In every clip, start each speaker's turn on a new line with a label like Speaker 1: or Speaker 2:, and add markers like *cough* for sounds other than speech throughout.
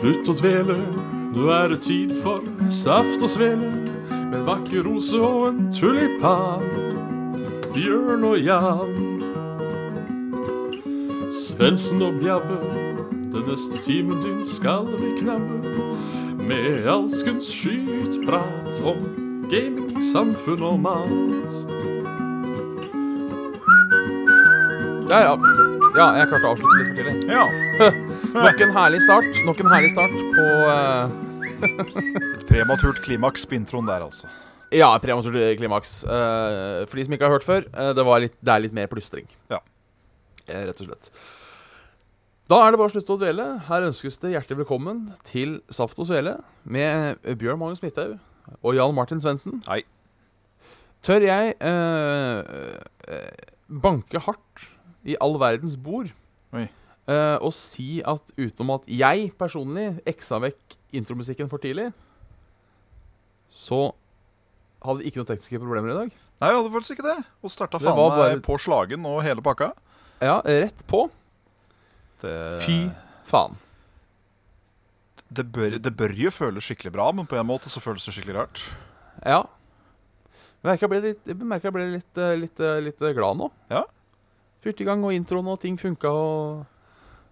Speaker 1: Slutt å dvele, nå er det tid for saft og svele. Med en vakker rose og en tulipan. Bjørn og Jan. Svendsen og Bjabbe, den neste timen din skal vi knabbe. Med alskens skytprat om gaming, samfunn og mat.
Speaker 2: Der, ja. ja, jeg klarte å avslutte litt for tidlig.
Speaker 3: Ja.
Speaker 2: Nok en herlig start Nok en herlig start på eh,
Speaker 3: Prematurt klimaks på introen der, altså.
Speaker 2: Ja, prematurt klimaks. Eh, for de som ikke har hørt før, eh, det, var litt, det er litt mer plystring.
Speaker 3: Ja.
Speaker 2: Eh, rett og slett. Da er det bare å slutte å dvele. Her ønskes det hjertelig velkommen til Saft og Svele med Bjørn Magnus Midthaug og Jan Martin Svendsen.
Speaker 3: Hei.
Speaker 2: Tør jeg eh, eh, banke hardt i all verdens bord
Speaker 3: Oi.
Speaker 2: eh, og si at utenom at jeg personlig eksa vekk intromusikken for tidlig, så hadde vi ikke noen tekniske problemer i dag.
Speaker 3: Nei, vi hadde faktisk ikke det. Og starta
Speaker 2: Det
Speaker 3: faen
Speaker 2: var
Speaker 3: meg
Speaker 2: bare-
Speaker 3: på slagen og hele pakka.
Speaker 2: Ja, rett på.
Speaker 3: Det,
Speaker 2: Fy faen.
Speaker 3: Det bør, det bør jo føles skikkelig bra, men på en måte så føles det skikkelig rart.
Speaker 2: Ja. Jeg merker jeg ble litt, jeg merker jeg ble litt, eh, litt, eh, litt glad nå.
Speaker 3: Ja.
Speaker 2: Fyrte i gang, og introen og ting funka, og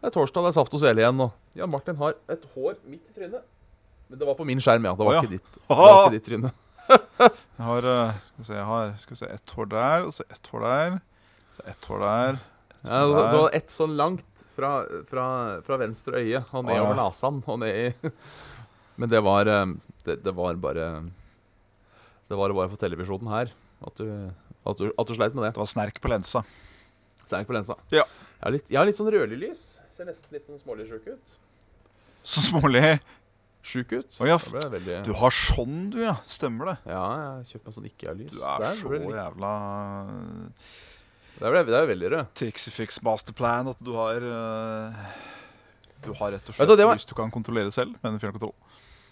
Speaker 2: Det er torsdag, det er saft og svele igjen, og Jan Martin har et hår midt i trynet. Men det var på min skjerm, ja. Det var
Speaker 3: Å, ja.
Speaker 2: ikke ditt. Det var ikke
Speaker 3: Ah!
Speaker 2: ditt tryne.
Speaker 3: Jeg har, eh, skal vi se, jeg har skal vi se, ett hår der, og så ett hår der. Så ett hår der.
Speaker 2: Ja, det, var- det var ett sånn langt fra, fra, fra venstre øye og ned
Speaker 3: Å, ja.
Speaker 2: over nesen og ned i *laughs* Men det var eh, det, det var bare Det var bare for televisjonen her at du, at du, at du sleit med det.
Speaker 3: Det var snerk på lensa. *laughs*
Speaker 2: Sterk på lensa.
Speaker 3: Ja.
Speaker 2: Jeg har litt, jeg har litt sånn rødlig lys. Ser nesten litt sånn smålig sjuk ut.
Speaker 3: Så smålig.
Speaker 2: Sjuk ut.
Speaker 3: Å, ja,
Speaker 2: Da ble jeg veldig
Speaker 3: Du har sånn, du, ja. Stemmer det.
Speaker 2: Ja, jeg kjøpte meg sånn ikke-lys.
Speaker 3: Du er
Speaker 2: Der
Speaker 3: så
Speaker 2: ble jeg litt-
Speaker 3: jævla eh,
Speaker 2: der ble jeg- der ble jeg veldig rød.
Speaker 3: Trixifix masterplan at du har eh, Du har rett
Speaker 2: Vet
Speaker 3: og
Speaker 2: du,
Speaker 3: slett
Speaker 2: det var-
Speaker 3: lys du kan kontrollere selv med en fjernkontroll.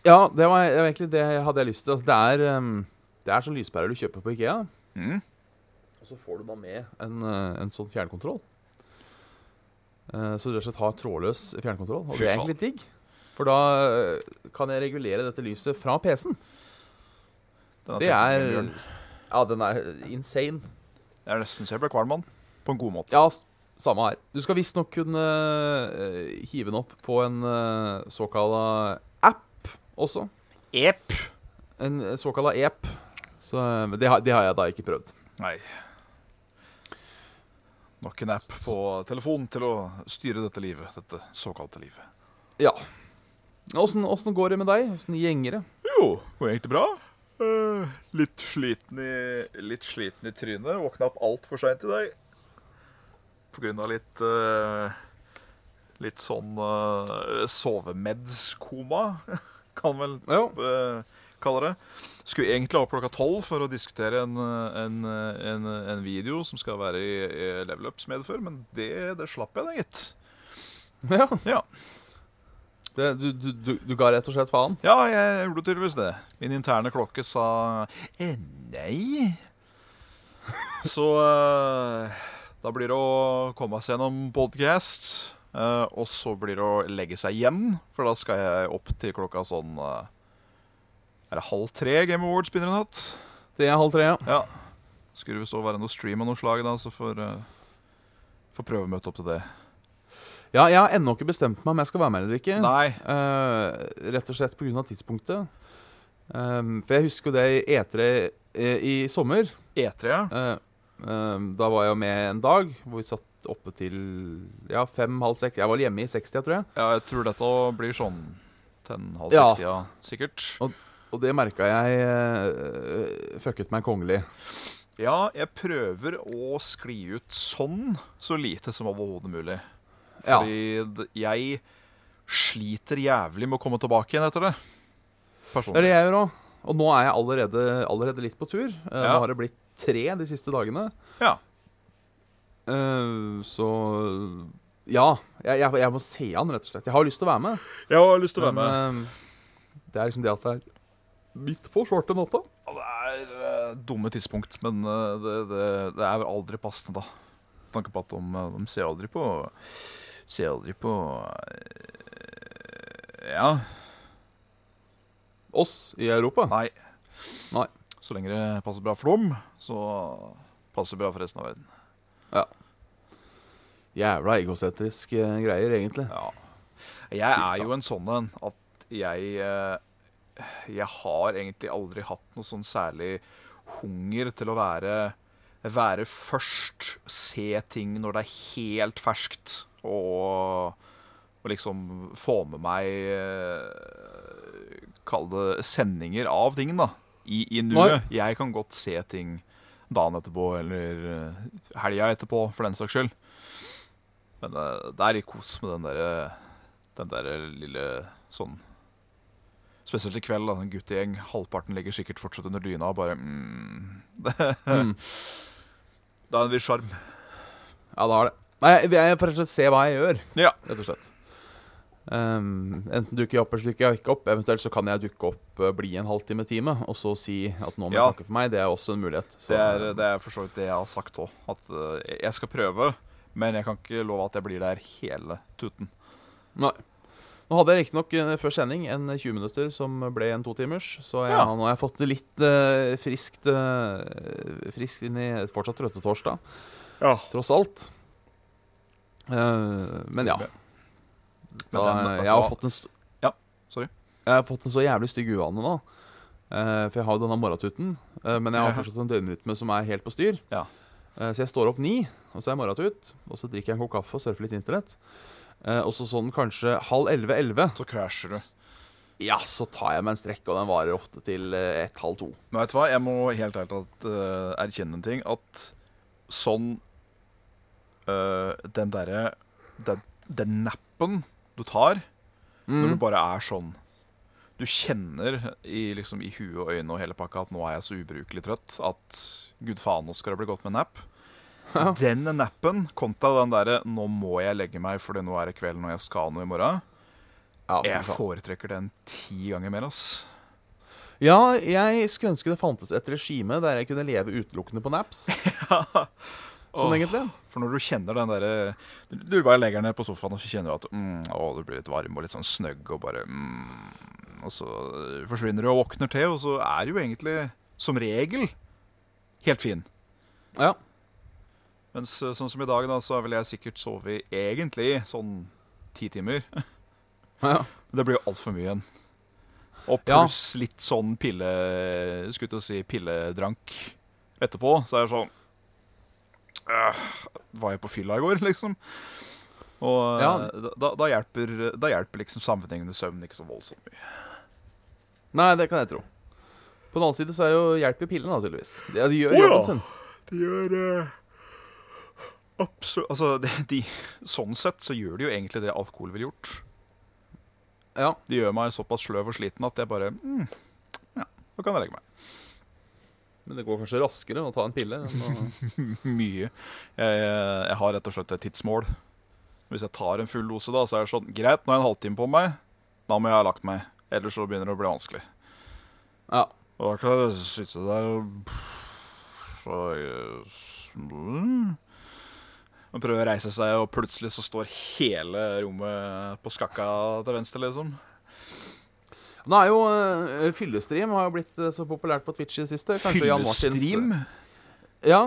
Speaker 2: Ja, det var det var egentlig det jeg hadde jeg lyst til. Altså, det er um, Det er sånn lyspære du kjøper på Ikea.
Speaker 3: Mm.
Speaker 2: Og så får du da med en, eh, en sånn fjernkontroll. Eh, Så du rett og slett har trådløs fjernkontroll. Og
Speaker 3: Fy
Speaker 2: det er
Speaker 3: faen.
Speaker 2: egentlig litt digg. For da eh, kan jeg regulere dette lyset fra PC-en.
Speaker 3: Den
Speaker 2: Det
Speaker 3: teknologien,
Speaker 2: er
Speaker 3: Bjørn.
Speaker 2: Ja, den er insane.
Speaker 3: Det er nesten så jeg ble kvalm av den. På en god måte.
Speaker 2: Ja, s- samme her. Du skal visstnok kunne eh, hive den opp på en eh, såkalla app også.
Speaker 3: Ep.
Speaker 2: En eh, såkalla ep. Så eh, men det har, det har jeg da ikke prøvd.
Speaker 3: Nei. Nok en app på telefonen til å styre dette livet. Dette såkalte livet.
Speaker 2: Ja. Åssen åssen går det med deg? Åssen gjenger det?
Speaker 3: Jo, går egentlig bra. Eh, Litt sliten i, litt sliten i trynet. Våkna opp altfor seint i dag. På grunn av litt eh, Litt sånn uh, sovemedskoma, *laughs* kan vel
Speaker 2: Jo.
Speaker 3: eh, kaller det. Skulle egentlig opp klokka tolv for å diskutere en, eh, en, eh, en, eh, en video som skal være i, i Level Ups medfør, men det, det slapp jeg da, gitt.
Speaker 2: Ja.
Speaker 3: Ja.
Speaker 2: Det, du, du, du, du ga rett og slett faen?
Speaker 3: Ja, jeg gjorde tydeligvis det. Min interne klokke sa eh, nei. Så eh, da blir det å komme seg gjennom podcast, eh, og så blir det å legge seg igjen, for da skal jeg opp til klokka sånn eh, Er det halv tre Game Awards begynner i natt?
Speaker 2: Det er halv tre, ja.
Speaker 3: Ja. Skulle visst også være noe stream av noe slag, da, så får, eh, får prøve å møte opp til det.
Speaker 2: Ja, jeg har ennå ikke bestemt meg om jeg skal være med eller ikke.
Speaker 3: Nei.
Speaker 2: Eh, rett og slett pga. tidspunktet. Ehm, for jeg husker jo det i E3 eh, i sommer.
Speaker 3: E3, E ja.
Speaker 2: Eh, ehm, da var jeg jo med en dag hvor vi satt oppe til ja, fem-halv seks. Jeg var vel hjemme i 60, jeg tror jeg.
Speaker 3: ja. Jeg tror dette blir sånn 10.30,
Speaker 2: Ja.
Speaker 3: ja. sikkert.
Speaker 2: Og det merka jeg eh, fucket meg kongelig.
Speaker 3: Ja, jeg prøver å skli ut sånn så lite som overhodet mulig.
Speaker 2: Ja.
Speaker 3: Fordi d- jeg sliter jævlig med å komme tilbake igjen etter det.
Speaker 2: Det er det
Speaker 3: Personlig.
Speaker 2: jeg gjør òg. Og nå er jeg allerede, allerede litt på tur. Eh,
Speaker 3: Ja.
Speaker 2: Nå har det blitt tre de siste dagene.
Speaker 3: Ja.
Speaker 2: Eh, så ja. Jeg, jeg, jeg må se han, rett og slett. Jeg har lyst til å være med.
Speaker 3: Jeg har lyst til å være
Speaker 2: Men
Speaker 3: med.
Speaker 2: eh, det er liksom det at det er midt på svarte natta.
Speaker 3: Ja, Det er eh, dumme tidspunkt, men eh, det, det, det er vel aldri passende, da. Med tanke på at de, eh, de ser aldri på Ser aldri på eh, Ja.
Speaker 2: Oss i Europa.
Speaker 3: Nei.
Speaker 2: Nei.
Speaker 3: Så lenge det passer bra for dem, så passer det bra for resten av verden.
Speaker 2: Jævla egosentriske greier, egentlig.
Speaker 3: Ja.
Speaker 2: Fy
Speaker 3: Jeg er
Speaker 2: faen.
Speaker 3: jo en sånn en at jeg eh, Jeg har egentlig aldri hatt noe sånn særlig hunger til å være være først, se ting når det er helt ferskt, og, og liksom få med meg eh, Kall det sendinger av ting, da. I, i nuet. Jeg kan godt se ting dagen etterpå, eller eh, helga etterpå, for den saks skyld. Men eh, det er litt kos med den derre den der lille sånn Spesielt i kveld, da. En guttegjeng. Halvparten ligger sikkert fortsatt under dyna og bare mm. Det
Speaker 2: Mm.
Speaker 3: det er en viss sjarm.
Speaker 2: Ja, det har det. Nei, jeg jeg får rett og slett se hva jeg gjør,
Speaker 3: Ja.
Speaker 2: rett og slett. Ehm, enten dukker jeg opp eller dukker jeg ikke opp. Eventuelt så kan jeg dukke opp, eh, bli en halvtime-time, og så si at nå må
Speaker 3: Ja.
Speaker 2: jeg snakke for meg. Det er også en mulighet. Så, eh,
Speaker 3: Det er, det er for så vidt det jeg har sagt òg. At eh, jeg skal prøve, men jeg kan ikke love at jeg blir der hele tuten.
Speaker 2: Nei. Nå hadde jeg riktignok eh, før sending en 20 minutter som ble en totimers, så jeg,
Speaker 3: Ja.
Speaker 2: nå har jeg fått det litt eh, friskt, eh, friskt inn i fortsatt Røttetorsdag,
Speaker 3: Ja.
Speaker 2: tross alt. Eh, men ja.
Speaker 3: Men
Speaker 2: Da,
Speaker 3: den- vet
Speaker 2: jeg,
Speaker 3: du
Speaker 2: har
Speaker 3: hva?
Speaker 2: fått en st
Speaker 3: Ja, sorry.
Speaker 2: jeg har fått en så jævlig stygg uvane nå. eh, for jeg har jo denne morgentuten, eh, men jeg har
Speaker 3: Ja.
Speaker 2: fortsatt en døgnrytme som er helt på styr.
Speaker 3: Ja.
Speaker 2: Eh, så jeg står opp ni, og så er jeg morgentut, og så drikker jeg en kopp kaffe og surfer litt internett. Eh, og så sånn kanskje halv elleve-elleve,
Speaker 3: Så krasjer du.
Speaker 2: ja, så tar jeg meg en strekk, og den varer ofte til eh, ett, halv to.
Speaker 3: Men vet du hva, jeg må helt ærlig talt eh, erkjenne en ting. At sånn eh, Den derre den, den nappen du tar
Speaker 2: Mm.
Speaker 3: når du bare er sånn Du kjenner i, liksom, i huet og øynene og hele pakka at nå er jeg så ubrukelig trøtt at gud faen, nå skal det bli godt med napp. Den nappen kontra den derre 'nå må jeg legge meg fordi nå er det kvelden og jeg skal noe i morgen',
Speaker 2: Ja, fy
Speaker 3: jeg
Speaker 2: faen.
Speaker 3: foretrekker den ti ganger mer, ass.
Speaker 2: ja, jeg skulle ønske det fantes et regime der jeg kunne leve utelukkende på *laughs* naps. Sånn
Speaker 3: Åh.
Speaker 2: egentlig.
Speaker 3: For når du kjenner den derre Du du bare legger deg ned på sofaen og så kjenner du at mm, å, du blir litt varm og litt sånn snøgg og bare mm, Og så øh, forsvinner du og våkner til, og så er du jo egentlig som regel helt fin.
Speaker 2: Ja.
Speaker 3: Mens øh, sånn som i dag, da, så vil jeg sikkert sove i egentlig sånn ti timer.
Speaker 2: ja.
Speaker 3: Det blir jo altfor mye igjen. Og
Speaker 2: Ja.
Speaker 3: pluss litt sånn pille Skulle til å si pilledrank etterpå. Så er det sånn øh, Var jeg på fylla i går, *laughs* liksom? Og
Speaker 2: Ja.
Speaker 3: eh, da, da, hjelper, da hjelper liksom sammenhengende søvn ikke så voldsomt mye.
Speaker 2: Nei, det kan jeg tro. På den annen side så er jo hjelp i pillene, da, tydeligvis. Ja, de gjør
Speaker 3: Å, ja.
Speaker 2: jobben sin.
Speaker 3: De gjør eh, absolutt Altså, *laughs* de, de, sånn sett så gjør de jo egentlig det alkohol ville gjort.
Speaker 2: Ja.
Speaker 3: De gjør meg såpass sløv og sliten at jeg bare mm, Ja, nå kan jeg legge meg.
Speaker 2: Men det går kanskje raskere å ta en pille. enn å-
Speaker 3: mye. Jeg, jeg har rett og slett et tidsmål. Hvis jeg tar en full dose, da, så er det sånn Greit, nå har jeg en halvtime på meg. Da må jeg ha lagt meg. Ellers så begynner det å bli vanskelig.
Speaker 2: *laughs* Ja.
Speaker 3: Og da kan jeg sitte der og så sånn. jeg- Og prøve å reise seg, og plutselig så står hele rommet på skakka til venstre, liksom.
Speaker 2: Nå er jo eh, fyllestream har jo blitt eh, så populært på Twitch i det siste. Kanskje Jan Martins-
Speaker 3: Fyllestream?
Speaker 2: Ja.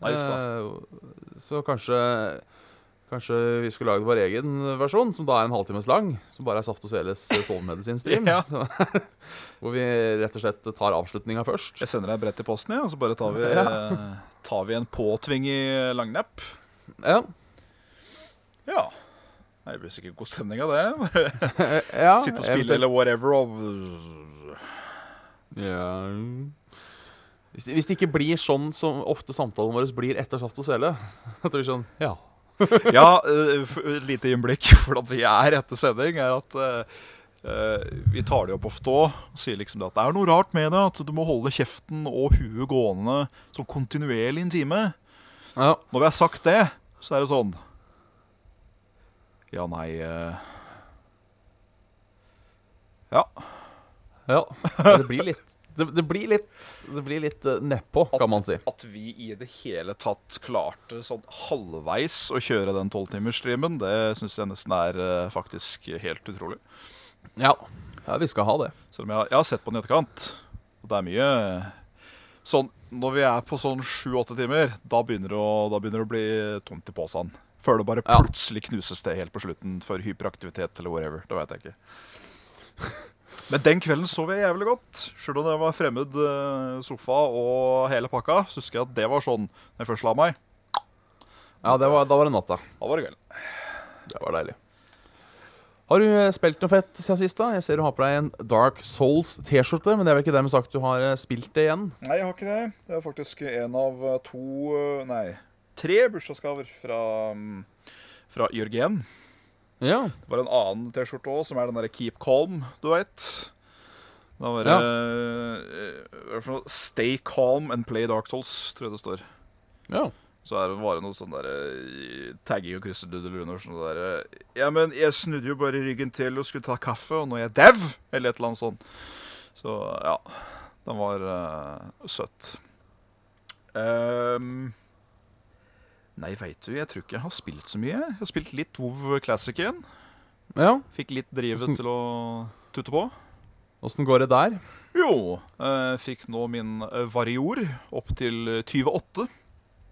Speaker 3: Nei, just
Speaker 2: Eh, så kanskje Kanskje vi skulle lagd vår egen versjon, som da er en halvtimes lang. Som bare er Saft og Sveles eh,
Speaker 3: *laughs*
Speaker 2: sovemedisinstream.
Speaker 3: Ja.
Speaker 2: *laughs* Hvor vi rett og slett tar avslutninga først.
Speaker 3: Jeg sender deg et brett i posten, jeg, og så bare tar vi,
Speaker 2: Ja.
Speaker 3: tar vi en påtvinget langnapp.
Speaker 2: Ja. *laughs*
Speaker 3: Ja. Nei, Det blir sikkert god stemning av det.
Speaker 2: ja
Speaker 3: Sitte og spille
Speaker 2: eventuelt.
Speaker 3: eller whatever. Og...
Speaker 2: *laughs* Ja hvis, hvis det ikke blir sånn som ofte samtalen vår blir etter Saft og Svele *laughs* At det blir sånn Ja.
Speaker 3: Ja, eh, f- et lite innblikk for at vi er etter sending, er at eh, eh, vi tar det opp ofte òg. Og sier liksom det at det er noe rart med det. At du må holde kjeften og huet gående sånn kontinuerlig i en time.
Speaker 2: ja.
Speaker 3: Når vi har sagt det, så er det sånn Ja, nei eh, Ja. *laughs*
Speaker 2: ja. Det blir litt det, det blir litt Det blir litt eh, nedpå, kan man si.
Speaker 3: At vi i det hele tatt klarte sånn halvveis å kjøre den tolvtimersstreamen, det syns jeg nesten er eh, faktisk helt utrolig.
Speaker 2: Ja. ja, vi skal ha det.
Speaker 3: Selv om jeg, jeg har sett på den i etterkant. Og det er mye eh, sånn, Når vi er på sånn sju-åtte timer, da begynner, det å, da begynner det å bli tomt i posen. Før det bare
Speaker 2: Ja.
Speaker 3: plutselig knuses det helt på slutten for hyperaktivitet eller whatever. Det vet jeg ikke. *laughs* Men den kvelden sov jeg jævlig godt. Sjøl om det var fremmed eh, sofa og hele pakka, så husker jeg at det var sånn når jeg først la meg.
Speaker 2: Ja, det var, Da var det natta.
Speaker 3: Da var det kveld.
Speaker 2: Det var deilig. Har du eh, spilt noe fett siden sist? da? Jeg ser du har på deg en Dark Souls-T-skjorte, men det er vel ikke dermed sagt du har eh, spilt det igjen?
Speaker 3: Nei, jeg har ikke det. Det er faktisk en av eh, to eh, Nei, tre bursdagsgaver fra, mm, fra Jørgen.
Speaker 2: Ja.
Speaker 3: Det var en annen T-skjorte òg, som er den derre Keep Calm, du veit. Da var det
Speaker 2: Ja.
Speaker 3: eh, hva er det for noe? Stay Calm and Play Dark Souls, tror jeg det står.
Speaker 2: ja.
Speaker 3: Så er det bare noe sånn der eh, tagging og kryssedudel under sånn der eh, Ja, men jeg snudde jo bare ryggen til og skulle ta kaffe, og nå er jeg dau! Eller et eller annet sånt. Så ja. Den var eh, søt. Ehm, nei, veit du, jeg tror ikke jeg har spilt så mye. Jeg har spilt litt WoW Classic igjen.
Speaker 2: ja.
Speaker 3: Fikk litt drivet
Speaker 2: Åssen-
Speaker 3: til å tutte på.
Speaker 2: Åssen går det der?
Speaker 3: Jo, eh, fikk nå min eh, varior opp til 28.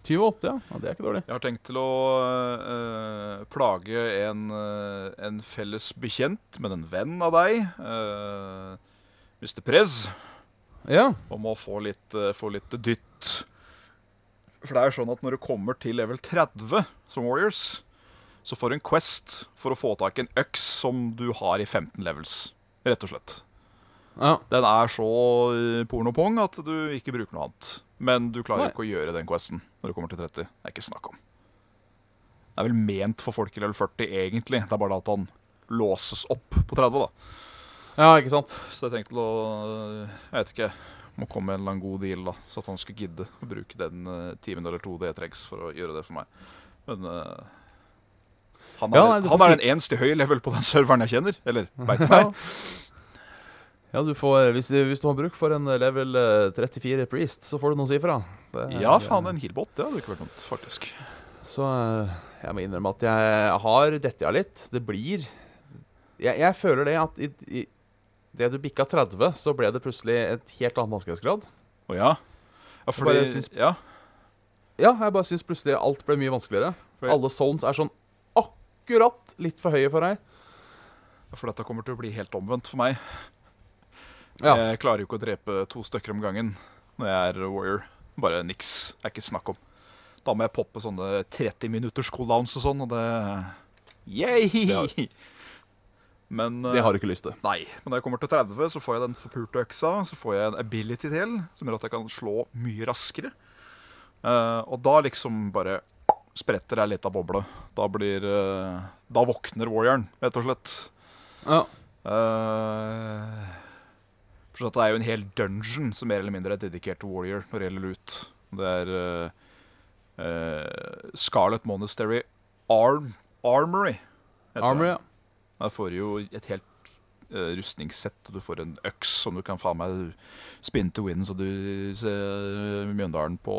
Speaker 2: 28, ja. ja. Det er ikke dårlig.
Speaker 3: Jeg har tenkt til å eh, eh, plage en, eh, en felles bekjent, men en venn av deg, eh, Mr. Prez,
Speaker 2: Ja.
Speaker 3: om å få litt, eh, få litt dytt. For det er jo sånn at når du kommer til level 30 som Warriors, så får du en quest for å få tak i en øks som du har i 15 levels, rett og slett.
Speaker 2: ja.
Speaker 3: Den er så eh, pornopong at du ikke bruker noe annet. Men du klarer
Speaker 2: Nei.
Speaker 3: ikke å gjøre den questen når du kommer til 30. Det er ikke snakk om. Det er vel ment for folk i level 40, egentlig. Det er bare det at han låses opp på 30, da.
Speaker 2: Ja, ikke sant.
Speaker 3: Så jeg tenkte å eh, Jeg vet ikke. Må komme med en eller annen god deal, da. Så at han skulle gidde å bruke den eh, timen eller to det trengs for å gjøre det for meg. Men eh, han er,
Speaker 2: Ja, nei, du får
Speaker 3: han er
Speaker 2: si-
Speaker 3: den eneste høye level på den serveren jeg kjenner. Eller veit
Speaker 2: *laughs* Ja.
Speaker 3: meg.
Speaker 2: Ja, du får, eh, hvis, du- hvis du har bruk for en level eh, 34 priest, så får du noen sifra. Det er-
Speaker 3: Ja, faen, en healbot. Det hadde ikke vært dumt, faktisk.
Speaker 2: Så eh, jeg må innrømme at jeg har dette av litt. Det blir Jeg, jeg føler det at i, i det du bikka 30, så ble det plutselig et helt annet vanskelighetsgrad.
Speaker 3: Å ja? Ja, fordi,
Speaker 2: Bare syns-
Speaker 3: ja.
Speaker 2: Ja, jeg bare syns plutselig alt ble mye vanskeligere.
Speaker 3: Fordi-
Speaker 2: Alle zones er sånn akkurat litt for høye for deg.
Speaker 3: for dette kommer til å bli helt omvendt for meg.
Speaker 2: Ja.
Speaker 3: Jeg klarer jo ikke å drepe to stykker om gangen når jeg er warrior. Bare niks. Det er ikke snakk om. Da må jeg poppe sånne 30 minutters cooldowns og sånn, og det Yay! Men eh,
Speaker 2: Det har du ikke lyst til.
Speaker 3: Nei. Men når jeg kommer til 30, så får jeg den forpulte øksa. Så får jeg en ability til, som gjør at jeg kan slå mye raskere. Eh, og da liksom bare spretter jeg litt av boble. Da blir eh, Da våkner warrioren, rett og slett.
Speaker 2: Ja.
Speaker 3: Eh, for at det er jo en hel dungeon som mer eller mindre er dedikert til warrior når det gjelder loot. Det er eh, eh, Scarlet Monastery Arm Armory. heter
Speaker 2: Armory,
Speaker 3: den.
Speaker 2: ja.
Speaker 3: Der får du jo et helt eh, rustningssett, og du får en øks som du kan faen meg spinne til wind, så du ser Mjøndalen på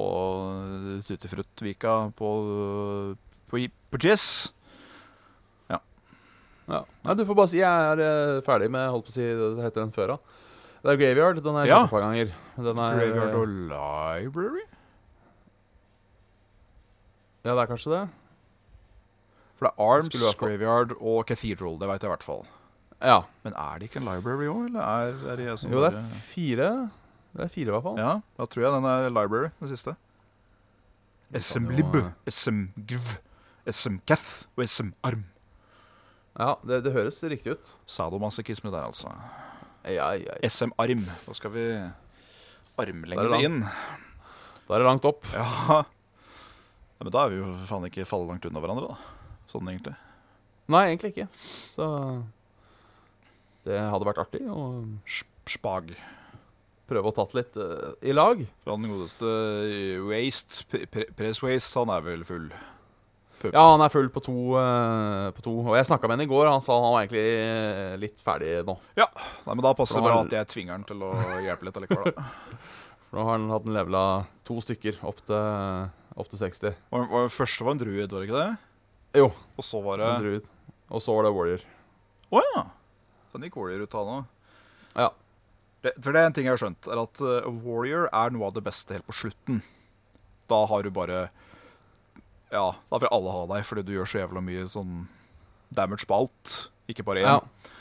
Speaker 3: eh, Tuttefruttvika på, eh, på, i- på Jizz.
Speaker 2: ja. Nei, du får bare si jeg er eh, ferdig med holdt på å si, det heter den før, da. Det er Graveyard. Den har jeg
Speaker 3: Ja.
Speaker 2: kjøpt et par ganger. Den er, eh,
Speaker 3: Graveyard og Library?
Speaker 2: Ja, det er kanskje det?
Speaker 3: For det er Arms,
Speaker 2: Skulle i hvert fall-
Speaker 3: Graveyard og Cathedral, det veit jeg i hvert fall.
Speaker 2: Ja.
Speaker 3: Men er det ikke en library òg, eller er, er det jeg som
Speaker 2: Jo, det er
Speaker 3: bare-
Speaker 2: fire. Det er fire, i hvert fall.
Speaker 3: Ja, da tror jeg den er library, den siste.
Speaker 2: Vi kan
Speaker 3: SM-lib,
Speaker 2: jo, eh,
Speaker 3: SM-gv, SM-cath og SM-arm.
Speaker 2: Ja, det, det høres riktig ut.
Speaker 3: Sadomasochisme der, altså.
Speaker 2: Ja, ja, ja.
Speaker 3: SM-arm. Da skal vi
Speaker 2: Der er
Speaker 3: armlengde
Speaker 2: det
Speaker 3: inn.
Speaker 2: Da er det langt opp.
Speaker 3: Ja. ja. Men da er vi jo faen ikke falle langt unna hverandre, da. Sånn egentlig.
Speaker 2: Nei, egentlig ikke. Så det hadde vært artig å
Speaker 3: Sp- Spag.
Speaker 2: prøve å tatt litt eh, i lag.
Speaker 3: Fra den godeste Waste, Pre- Pre- Press Waste, han er vel full.
Speaker 2: Ja, han er full på to. eh, på to. Og jeg snakka med han i går, og han sa han var egentlig eh, litt ferdig nå.
Speaker 3: Nei, men da passer det
Speaker 2: Bra.
Speaker 3: bra at jeg tvinger han til å hjelpe litt allikevel, da. *laughs*
Speaker 2: For nå har han hatt en levela to stykker opp til, opp til 60.
Speaker 3: Var, var, første var en druid, var det ikke det?
Speaker 2: Jo,
Speaker 3: Og så var det
Speaker 2: en druid. Og så var det warrior.
Speaker 3: Å ja! Den gikk Warrior-ruta nå.
Speaker 2: Ja.
Speaker 3: Det, for det er en ting jeg har skjønt, er at eh, Warrior er noe av det beste helt på slutten. Da har du bare Ja, da vil alle ha deg, fordi du gjør så jævla mye sånn damage på alt. Ikke bare én.
Speaker 2: ja.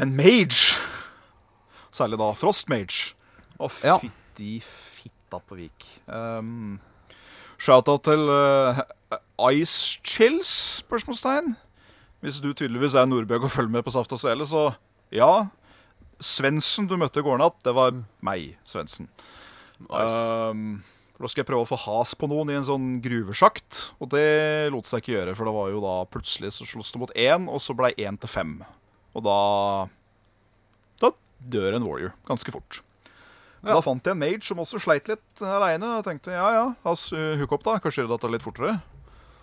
Speaker 3: Men mage! Særlig da Frostmage. Å,
Speaker 2: Ja.
Speaker 3: fytti fitta på Vik. Um, Shout-out til uh, Ice Chills? spørsmålstegn. Hvis du tydeligvis er Nordbjørg og følger med på Saft og Svele, så ja. Svendsen du møtte i går natt, det var meg, Svendsen.
Speaker 2: Nice.
Speaker 3: Um, for da skal jeg prøve å få has på noen i en sånn gruvesjakt, og det lot seg ikke gjøre, for det var jo da plutselig så sloss det mot én, og så blei én til fem. Og da Da dør en warrior ganske fort.
Speaker 2: Ja.
Speaker 3: Da fant jeg en mage som også sleit litt aleine, og tenkte ja ja, la oss uh, hooke opp, da. Kanskje gjøre dette litt fortere.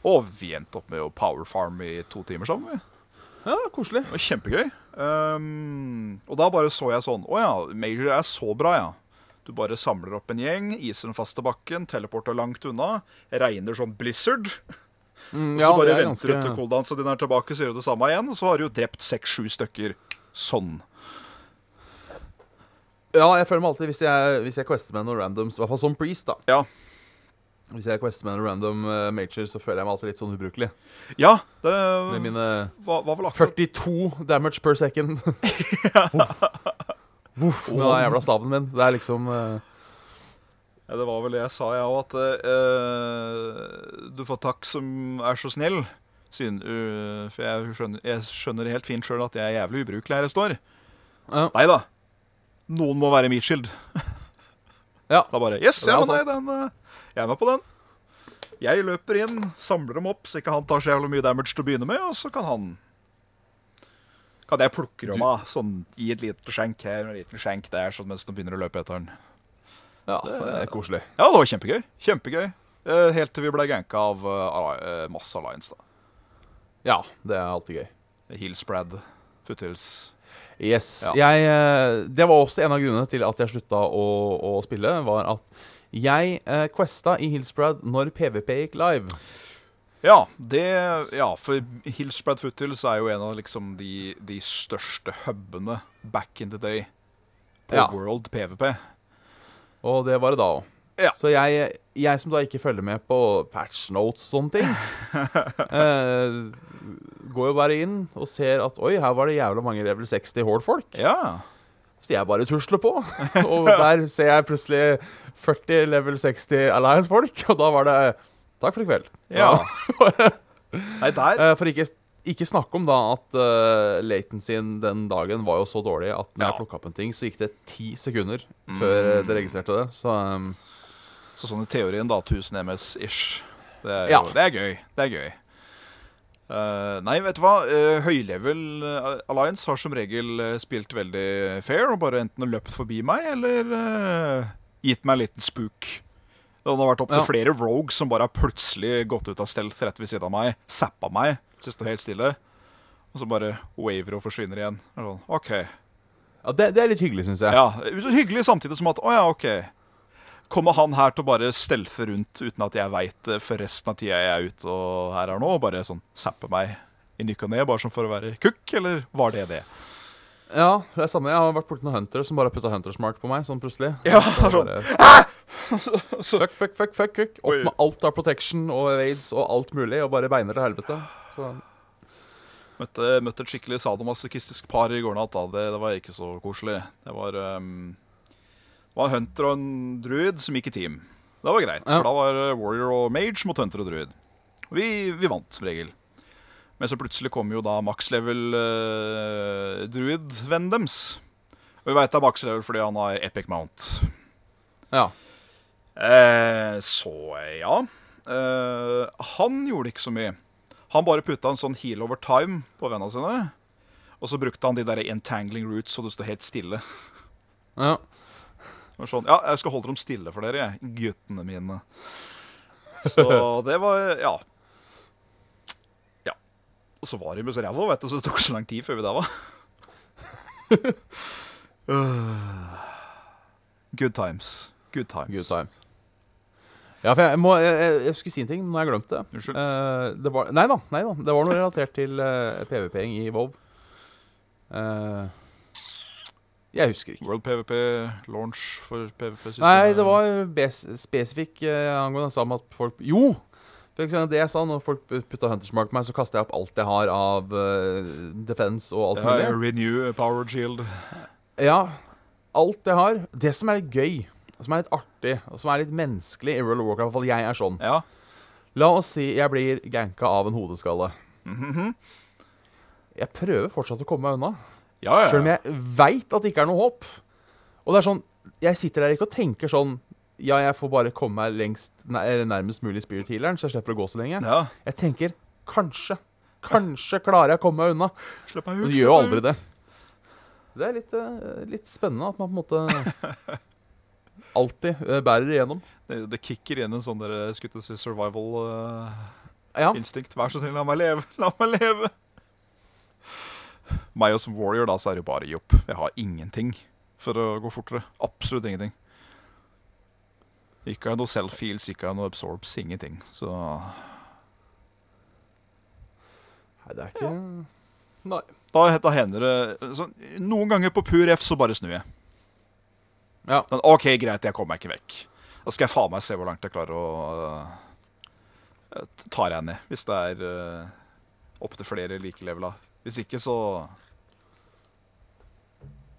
Speaker 3: Og vi endte opp med å power farm i to timer sammen. vi.
Speaker 2: ja, koselig.
Speaker 3: Det var kjempegøy. Ehm, og da bare så jeg sånn Å ja, Major er så bra, ja. Du bare samler opp en gjeng, iser den fast til bakken, teleporter langt unna. Regner sånn blizzard.
Speaker 2: Mm,
Speaker 3: Og
Speaker 2: ja,
Speaker 3: så bare
Speaker 2: det er
Speaker 3: venter du til
Speaker 2: ganske-
Speaker 3: cooldansa din er tilbake, så gjør du det samme igjen. Og så har du jo drept seks-sju stykker. Sånn.
Speaker 2: Ja, jeg føler meg alltid hvis jeg, hvis jeg quester med noen randoms, i hvert fall som priest, da.
Speaker 3: Ja.
Speaker 2: Hvis jeg quester med en random uh, major, så føler jeg meg alltid litt sånn ubrukelig.
Speaker 3: Ja, det
Speaker 2: Med mine
Speaker 3: var, var vel akkurat
Speaker 2: 42 damage per
Speaker 3: *laughs*
Speaker 2: second. Voff. Voff med den jævla staven min. Det er liksom eh,
Speaker 3: ja, Det var vel det jeg sa, jeg òg, at eh, du får takk som er så snill. Siden, eh, for jeg skjønner, jeg skjønner helt fint sjøl at jeg er jævlig ubrukelig her jeg står.
Speaker 2: ja.
Speaker 3: Nei da. Noen må være Mitchild.
Speaker 2: Ja.
Speaker 3: Da bare Yes,
Speaker 2: Det
Speaker 3: jeg
Speaker 2: er
Speaker 3: er,
Speaker 2: sant.
Speaker 3: med den, eh, jeg er med på den. Jeg løper inn, samler dem opp, så ikke han tar så jævla mye damage til å begynne med, og så kan han Kan jeg plukke dem av, sånn i et lite skjenk her og en liten skjenk der, sånn mens de begynner å løpe etter den.
Speaker 2: ja, det er koselig.
Speaker 3: Ja, det var kjempegøy. Kjempegøy. Eh, Helt til vi ble ganka av eh, Alli- eh, masse Alliance, da.
Speaker 2: Ja, det er alltid gøy.
Speaker 3: Heelspread, Foothills
Speaker 2: Yes.
Speaker 3: Ja.
Speaker 2: Jeg, eh, det var også en av grunnene til at jeg slutta å, å spille, var at jeg eh, questa i Hillsprad når PVP gikk live.
Speaker 3: Ja, det, ja for Hillspread Foothills er jo en av liksom de, de største hubene back in the day på
Speaker 2: Ja.
Speaker 3: World PVP.
Speaker 2: Og det var det da òg.
Speaker 3: Ja.
Speaker 2: Så jeg, jeg som da ikke følger med på patch notes og sånne ting, *laughs* eh, går jo bare inn og ser at oi, her var det jævla mange level 60 hårdfolk.
Speaker 3: Ja.
Speaker 2: Så jeg bare tusler
Speaker 3: *laughs*
Speaker 2: på. Og der ser jeg plutselig 40 level 60 Alliance-folk, og da var det takk for i kveld. *laughs*
Speaker 3: ja.
Speaker 2: Da-
Speaker 3: Nei, der
Speaker 2: Eh, For ikke, ikke snakke om da at uh, latencyen den dagen var jo så dårlig at når
Speaker 3: Ja. Mm.
Speaker 2: jeg plukka opp en ting, så gikk det ti sekunder før eh, det registrerte det. Så um,
Speaker 3: Så sånn i teorien, da. 1000 MS-ish. Det, er
Speaker 2: Ja.
Speaker 3: jo- det er gøy. Det er gøy. Eh, nei, vet du hva? Eh, Høylevel eh, Alliance har som regel eh, spilt veldig fair og bare enten løpt forbi meg eller eh, gitt meg en liten spook. Det har vært opp til
Speaker 2: Ja.
Speaker 3: flere rogues som bare har plutselig gått ut av stealth rett ved siden av meg, zappa meg, så jeg står helt stille, og så bare waver og forsvinner igjen. Det er Sånn, OK.
Speaker 2: ja, det, det er litt hyggelig, syns jeg.
Speaker 3: Ja, Hyggelig samtidig som at Å ja, OK. Kommer han her til å bare stelte rundt uten at jeg veit det for resten av tida jeg er ute og her er nå? Og bare sånn zappe meg i ny og ne, bare sånn for å være kukk, eller var det det?
Speaker 2: Ja, det er samme. Jeg har vært borti noen hunter som bare har putta hunters mark på meg, sånn plutselig.
Speaker 3: Ja,
Speaker 2: Så
Speaker 3: sånn.
Speaker 2: bare-
Speaker 3: *laughs* Så-
Speaker 2: Fuck, fuck, fuck, fuck, fuck.
Speaker 3: Oi.
Speaker 2: Opp med alt av protection og raids og alt mulig, og bare beiner til helvete. Så,
Speaker 3: Møtte, møtte et skikkelig sadomasochistisk par i går natt. da Det, det var ikke så koselig. Det var, ehm, det var en hunter og en druid som gikk i team. Det var greit,
Speaker 2: Ja.
Speaker 3: for da var eh, warrior og mage mot hunter og druid. Og vi, vi vant som regel. Men så plutselig kom jo da max level eh, druid-vennen deres. Og vi veit det er max level fordi han har epic mount.
Speaker 2: ja.
Speaker 3: Eh, så ja. Eh, han gjorde ikke så mye. Han bare putta en sånn heal over time på vennene sine. Og så brukte han de der entangling roots, så du står helt stille.
Speaker 2: ja.
Speaker 3: Det var Sånn, ja, jeg skal holde dem stille for dere, jeg. Guttene mine. Så det var Ja. Ja. Og så var de med så ræva, vet du, så det tok så lang tid før vi daua. Øh. Good times. Good times.
Speaker 2: Good time. Ja, for jeg, må, jeg, jeg, jeg skulle si en ting, men nå har jeg glemt det.
Speaker 3: Unnskyld.
Speaker 2: Eh, det var, nei da, nei da. Det var noe relatert til uh, PVP-ing i WoW. Eh, jeg husker ikke.
Speaker 3: World PVP, launch for PVP-systemet.
Speaker 2: Nei, det var eh, bes spesifikk eh, angående sammen at folk Jo! For eksempel det jeg sa, når folk putta Hunters Mark på meg, så kasta jeg opp alt jeg har av eh, defense og alt
Speaker 3: Ja, ja,
Speaker 2: mulig.
Speaker 3: Renew, Power Shield.
Speaker 2: Ja, alt jeg har. Det som er litt gøy, som er litt artig, og som er litt menneskelig i World of Warcraft, i hvert fall jeg er sånn
Speaker 3: Ja.
Speaker 2: La oss si jeg blir ganka av en hodeskalle.
Speaker 3: Mhm.
Speaker 2: Jeg prøver fortsatt å komme meg unna.
Speaker 3: Ja, ja.
Speaker 2: Selv om jeg veit at det ikke er noe håp. Og det er sånn, jeg sitter der ikke og tenker sånn Ja, jeg får bare komme meg lengst, nei, eller nærmest mulig spirit healeren, så jeg slipper å gå så lenge.
Speaker 3: ja.
Speaker 2: Jeg tenker kanskje, kanskje klarer jeg å komme meg unna.
Speaker 3: Slipp meg ut.
Speaker 2: Men du
Speaker 3: slipp
Speaker 2: gjør jo
Speaker 3: meg
Speaker 2: aldri
Speaker 3: ut.
Speaker 2: det. Det er litt, eh, litt spennende at man på en måte
Speaker 3: *laughs*
Speaker 2: alltid eh, bærer igjennom.
Speaker 3: Det, det kicker inn en sånn der, skulle til å si, survival-instinkt.
Speaker 2: Ja,
Speaker 3: Vær så snill, la meg leve! *laughs* La meg leve! Meg og som warrior, da, så er det jo bare jobb. Jeg har ingenting for å gå fortere. Absolutt ingenting. Ikke har jeg noe self-heals, ikke har jeg noe absorbs, ingenting. Så
Speaker 2: Nei, det er ikke Nei.
Speaker 3: da, da hender det sånn, Noen ganger på pur F så bare snur jeg.
Speaker 2: Ja.
Speaker 3: Men OK, greit, jeg kommer meg ikke vekk. Da skal jeg faen meg se hvor langt jeg klarer å øh, t- ta deg ned. Hvis det er øh, opp opptil flere like levela. Hvis ikke, så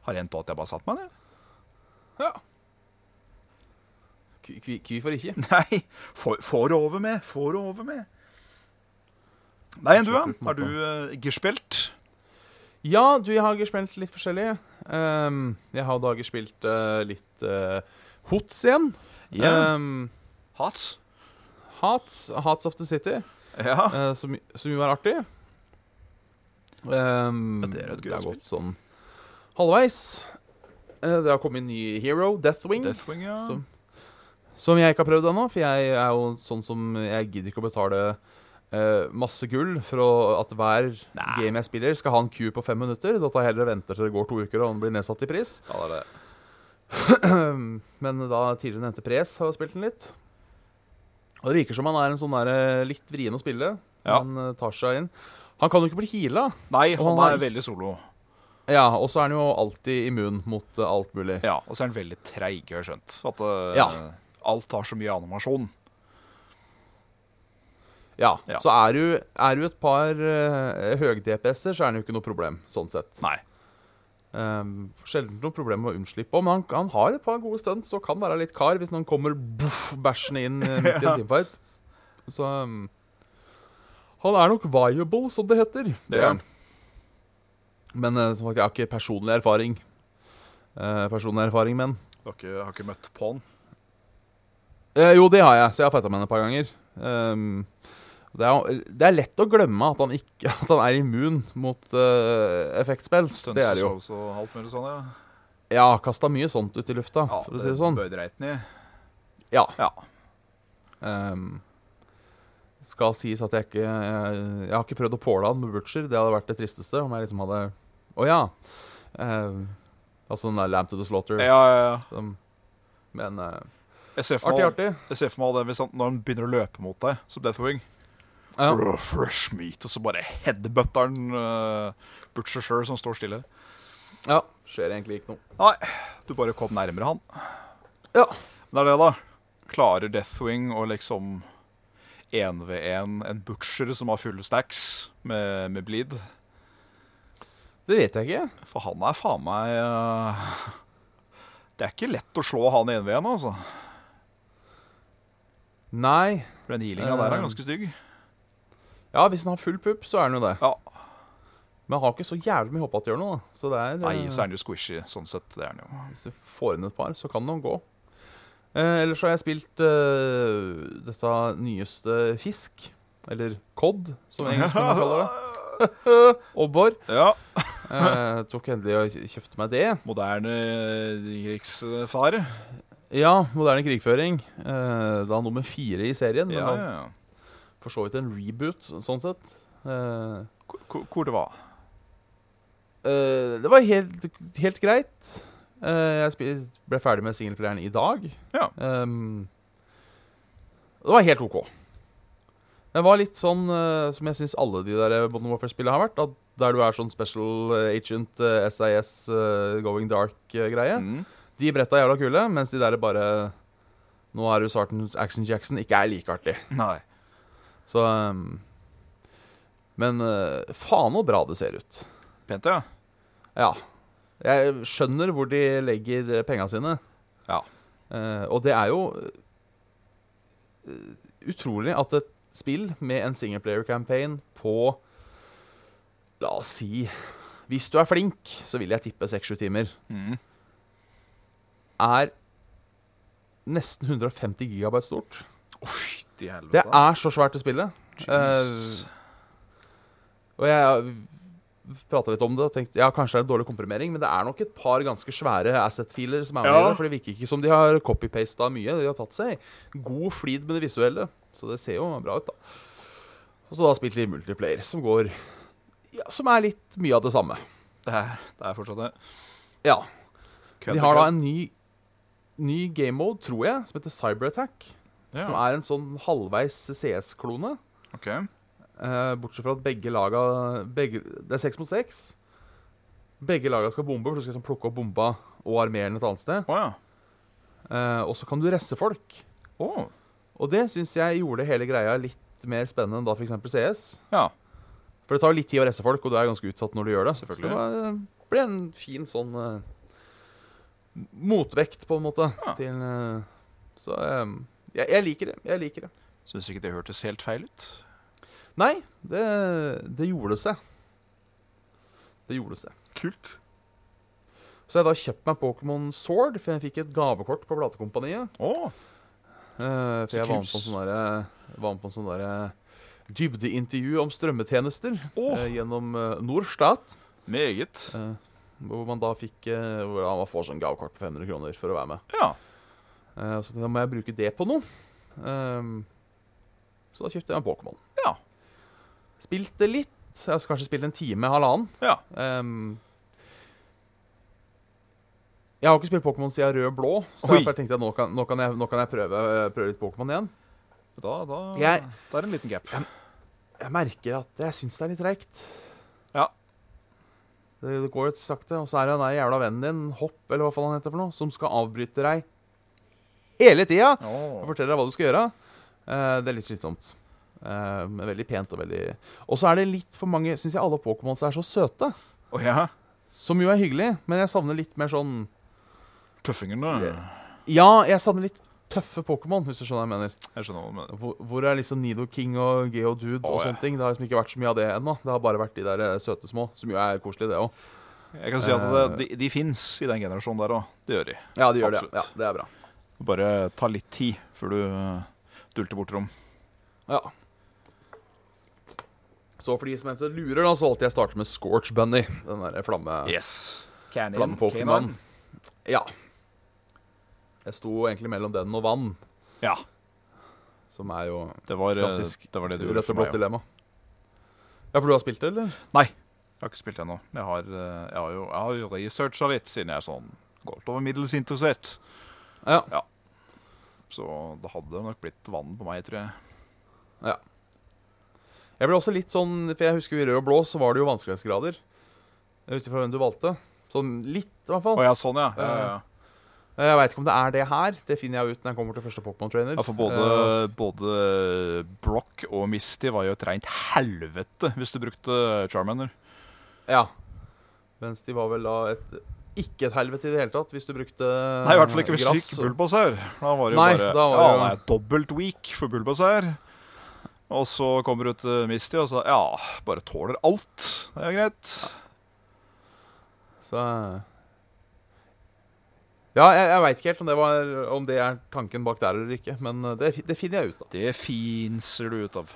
Speaker 3: har det hendt at jeg bare satt meg ned. *laughs*
Speaker 2: Ja. Kvi- kvi- Kvifor ikke?
Speaker 3: Nei, får får det over med. Får det over med. Nei, enn du, da?
Speaker 2: Slutt på en
Speaker 3: Har du uh, gespilt?
Speaker 2: Ja, du, jeg har spilt litt forskjellig. Ehm, jeg har dager spilt eh, litt eh, Hots igjen.
Speaker 3: Ja.
Speaker 2: Ehm,
Speaker 3: Hats?
Speaker 2: Hats, Hats of the City,
Speaker 3: Ja.
Speaker 2: eh, som, som jo er artig. Ehm,
Speaker 3: Ja, det er et gøy
Speaker 2: det har
Speaker 3: spill.
Speaker 2: gått sånn halvveis. Eh, det har kommet en ny hero, Deathwing,
Speaker 3: Deathwing, ja.
Speaker 2: som, som jeg ikke har prøvd ennå. For jeg er jo sånn som Jeg gidder ikke å betale eh, masse gull for å, at hver
Speaker 3: Nei.
Speaker 2: game jeg spiller, skal ha en queue på fem minutter. Da tar jeg heller og venter til det går to uker og den blir nedsatt i pris. *clears throat*
Speaker 3: Ja, det er det.
Speaker 2: Men da tidligere nevnte Pres har jo spilt den litt. Og Det virker som han er en sånn der, eh, litt vrien å spille.
Speaker 3: Ja.
Speaker 2: Han eh, tar seg inn. Han kan jo ikke bli heala.
Speaker 3: Nei,
Speaker 2: Og
Speaker 3: han
Speaker 2: han
Speaker 3: er
Speaker 2: har-
Speaker 3: veldig solo.
Speaker 2: Ja, og så er han jo alltid immun mot eh, alt mulig.
Speaker 3: Ja, og så er han veldig treig, har jeg skjønt. At eh,
Speaker 2: Ja.
Speaker 3: alt har så mye animasjon.
Speaker 2: Ja,
Speaker 3: Ja.
Speaker 2: Så er du, er du et par uh, høg-DPS-er, så er han jo ikke noe problem, sånn sett.
Speaker 3: Nei.
Speaker 2: Um, sjelden noe problem med å unnslippe òg, men han, han har et par gode stunts og kan være litt kar hvis noen kommer boff, bæsjende inn eh, midt i en teamfight. Så um, Han er nok viable, som det heter.
Speaker 3: Det er han.
Speaker 2: Men eh, som sagt, jeg har ikke personlig erfaring. Eh, personlig erfaring, men
Speaker 3: Har ikke, har ikke møtt på han.
Speaker 2: Eh, Jo, det har jeg, så jeg har fighta med henne et par ganger. Um, det, er, det er lett å glemme at han, ikke, *laughs* at han er immun mot uh, effektspills. Det er det jo.
Speaker 3: Stunts og shows og alt mulig sånn, ja.
Speaker 2: Ja, kasta mye sånt ut i lufta,
Speaker 3: ja
Speaker 2: for å si det sånn.
Speaker 3: Bøy dreiten i.
Speaker 2: Ja.
Speaker 3: Ja.
Speaker 2: Ehm, skal sies at jeg ikke Jeg, jeg har ikke prøvd å påle han med Butcher. Det hadde vært det tristeste om jeg liksom hadde Å ja. Ehm, altså den der Lamb to the Slaughter.
Speaker 3: Ja, ja, ja.
Speaker 2: Som, men eh,
Speaker 3: Jeg ser for
Speaker 2: artig,
Speaker 3: meg,
Speaker 2: artig.
Speaker 3: jeg ser for meg det hvis han, når han begynner å løpe mot deg, som Deathwing.
Speaker 2: Ja.
Speaker 3: Brr, Fresh meat, og så bare headbutter han eh, Butcher Sher som står stille.
Speaker 2: ja. Skjer egentlig ikke noe.
Speaker 3: Nei, du bare kom nærmere han.
Speaker 2: Ja.
Speaker 3: Men det er det, da. Klarer Deathwing å liksom 1v1 en butcher som har fulle stacks med, med bleed?
Speaker 2: Det vet jeg ikke.
Speaker 3: For han er faen meg eh, Det er ikke lett å slå han 1v1, altså.
Speaker 2: Nei.
Speaker 3: For den healinga der
Speaker 2: Eh.
Speaker 3: er ganske stygg.
Speaker 2: Ja, hvis han har full pupp, så er han jo det.
Speaker 3: Ja.
Speaker 2: Men han har ikke så jævlig mye håp at det gjør noe, da. Så det er
Speaker 3: Nei,
Speaker 2: eh,
Speaker 3: så er han jo squishy, sånn sett. Det er han jo.
Speaker 2: Hvis du får inn et par, så kan de gå. Eh, ellers har jeg spilt eh, dette nyeste Fisk, eller Cod,
Speaker 3: *laughs*
Speaker 2: som engelskmennene kaller det. Obbor.
Speaker 3: Ja.
Speaker 2: Eh, tok endelig og kj- kjøpte meg det.
Speaker 3: Moderne eh, krigsfare.
Speaker 2: Ja, moderne krigføring. Eh, da nummer fire i serien, men
Speaker 3: Ja,
Speaker 2: da
Speaker 3: ja.
Speaker 2: for så vidt en reboot, så- sånn sett. Eh,
Speaker 3: Hvor- Hvor hvor det var.
Speaker 2: eh, det var helt, helt greit. Eh, jeg spil- ble ferdig med singelplayeren i dag.
Speaker 3: Ja.
Speaker 2: Ehm, det var helt OK. Det Det var litt sånn eh, som jeg syns alle de der Modern Warfare-spillene har vært. At der du er sånn special eh, agent, eh, SAS, eh, Going Dark-greie.
Speaker 3: Mm.
Speaker 2: De bretta er jævla kule, mens de der bare Nå er du Sergeant Action Jackson, ikke er like artig.
Speaker 3: Nei.
Speaker 2: Så ehm, Men eh, faen så bra det ser ut.
Speaker 3: Pent, ja.
Speaker 2: Ja. Jeg skjønner hvor de legger eh, penga sine.
Speaker 3: Ja.
Speaker 2: Eh, og det er jo eh, utrolig at et spill med en singleplayer-campaign på La oss si Hvis du er flink, så vil jeg tippe 6-7 timer.
Speaker 3: Mm.
Speaker 2: Er nesten 150 gigabyte stort.
Speaker 3: Oi, til
Speaker 2: Det
Speaker 3: helvete.
Speaker 2: er eh, så svært å spille.
Speaker 3: Jesus.
Speaker 2: Og jeg prata litt om det og tenkte ja, kanskje det er en dårlig komprimering, men det er nok et par ganske svære asset-filer som er med i
Speaker 3: Ja.
Speaker 2: det. For det virker ikke som de har copy-pasta mye. De har tatt seg god flid med det visuelle. Så det ser jo bra ut, da. Og så da spilt litt multiplayer, som går ja, Som er litt mye av det samme.
Speaker 3: Det er, det er fortsatt det.
Speaker 2: Ja.
Speaker 3: Kødd
Speaker 2: De
Speaker 3: og
Speaker 2: har da
Speaker 3: kødd.
Speaker 2: en ny, ny game mode, tror jeg, som heter Cyberattack. Som
Speaker 3: ja.
Speaker 2: er en sånn halvveis CS-klone.
Speaker 3: OK.
Speaker 2: Eh, bortsett fra at begge laga begge, Det er seks mot seks. Begge laga skal bombe, for du skal liksom plukke opp bomba og armere den et annet sted.
Speaker 3: Å ja.
Speaker 2: Eh, og så kan du resse folk.
Speaker 3: Å.
Speaker 2: Og det syns jeg gjorde hele greia litt mer spennende enn da f.eks. CS.
Speaker 3: Ja.
Speaker 2: For det tar jo litt tid å resse folk, og du er ganske utsatt når du gjør det. Så
Speaker 3: Selvfølgelig.
Speaker 2: det var, eh, ble en fin sånn eh, motvekt, på en måte,
Speaker 3: Ja.
Speaker 2: til eh, Så eh, jeg, jeg liker det. Jeg liker det.
Speaker 3: Syns ikke det hørtes helt feil ut.
Speaker 2: Nei, det, det gjorde seg. Det gjorde seg.
Speaker 3: Kult.
Speaker 2: Så jeg da kjøpt meg Pokémon Sword, for jeg fikk et gavekort på platekompaniet.
Speaker 3: Å.
Speaker 2: Eh, for
Speaker 3: Så
Speaker 2: jeg var med
Speaker 3: kult.
Speaker 2: på en sånn derre- var med på en sånn derre dybdeintervju om strømmetjenester
Speaker 3: Åh.
Speaker 2: eh, gjennom eh, Norstat.
Speaker 3: Meget.
Speaker 2: eh, hvor man da fikk eh, Hvor da man får sånn gavekort på 500 kroner for å være med.
Speaker 3: Ja.
Speaker 2: Eh, og så da må jeg bruke det på noe. Ehm, så da kjøpte jeg en Pokémon.
Speaker 3: Ja.
Speaker 2: Spilte litt. Jeg har kanskje spilt en time, halvannen.
Speaker 3: Ja.
Speaker 2: Ehm, jeg har jo ikke spilt Pokémon siden rød og blå, så
Speaker 3: Oi.
Speaker 2: derfor tenkte jeg nå kan, nå kan jeg, nå kan jeg prøve, eh, prøve litt Pokémon igjen.
Speaker 3: Da, da
Speaker 2: Jeg-
Speaker 3: Det er en liten gap.
Speaker 2: Jeg merker at jeg syns det er litt treigt.
Speaker 3: Ja.
Speaker 2: Det, det går jo sakte. Og så er det den der jævla vennen din, Hopp, eller hva faen han heter for noe, som skal avbryte deg hele tida
Speaker 3: Å.
Speaker 2: og forteller deg hva du skal gjøre. Eh, det er litt slitsomt. Eh, men veldig pent og veldig Og så er det litt for mange Syns jeg alle Pokémons er så søte.
Speaker 3: Å ja.
Speaker 2: Som jo er hyggelig, men jeg savner litt mer sånn
Speaker 3: Tøffingene.
Speaker 2: Ja, jeg savner litt tøffe Pokémon, hvis du skjønner hva jeg mener.
Speaker 3: Jeg skjønner hva du mener.
Speaker 2: Hvor, hvor er liksom Nidoking og Geodude og
Speaker 3: Å, ja.
Speaker 2: sånne ting? Det har liksom ikke vært så mye av det ennå. Det har bare vært de der eh, søte små, som jo er koselige, det òg.
Speaker 3: Jeg kan si at det, de, de fins i den generasjonen der òg. Det gjør de.
Speaker 2: Ja, de gjør
Speaker 3: Absolutt.
Speaker 2: det. Ja, det er bra.
Speaker 3: Bare ta litt tid før du eh, dulter bort rom.
Speaker 2: Ja. Så for de som eventuelt lurer, da, så valgte jeg å starte med Scorch Bunny. Den derre flamme...
Speaker 3: Yes.
Speaker 2: Flamme-Pokémon. Ja. Jeg sto egentlig mellom den og vann,
Speaker 3: Ja.
Speaker 2: som er jo
Speaker 3: Det var, eh,
Speaker 2: Klassisk.
Speaker 3: det var det du gjorde
Speaker 2: rødt
Speaker 3: for
Speaker 2: og
Speaker 3: meg.
Speaker 2: blått
Speaker 3: også.
Speaker 2: dilemma. Ja, for du har spilt det, eller?
Speaker 3: Jeg har ikke spilt ennå. Jeg har, eh, jeg har jo, jeg har jo researcha litt, siden jeg er sånn godt over middels interessert.
Speaker 2: Ja.
Speaker 3: Så det hadde nok blitt vann på meg, tror jeg.
Speaker 2: Jeg ble også litt sånn, for jeg husker i rød og blå så var det jo vanskelighetsgrader. Ut ifra hvem du valgte. Sånn litt, i hvert
Speaker 3: Å
Speaker 2: fall. Eh,
Speaker 3: ja, sånn, ja. ja, ja, ja.
Speaker 2: Jeg veit ikke om det er det her. Det finner jeg ut når jeg kommer til første Pokémon Trainer.
Speaker 3: ja for både,
Speaker 2: Eh,
Speaker 3: både Brock og Misty var jo et reint helvete hvis du brukte Charmander.
Speaker 2: Eh, ja. Mens de var vel da et ikke et helvete i det hele tatt, hvis du brukte eh,
Speaker 3: Nei, i hvert fall ikke hvis du
Speaker 2: grass.
Speaker 3: fikk Bulbasaur. Da var det jo
Speaker 2: Nei,
Speaker 3: bare
Speaker 2: da var
Speaker 3: Ja,
Speaker 2: det jo-
Speaker 3: han er dobbelt weak for Bulbasaur. Og så kommer du til Misty og så Ja, bare tåler alt. Det er jo greit.
Speaker 2: Så eh, Ja, jeg, jeg veit ikke helt om det, var, om det er tanken bak der eller ikke, men eh, det, fi- det finner jeg ut av.
Speaker 3: Det finser du ut av.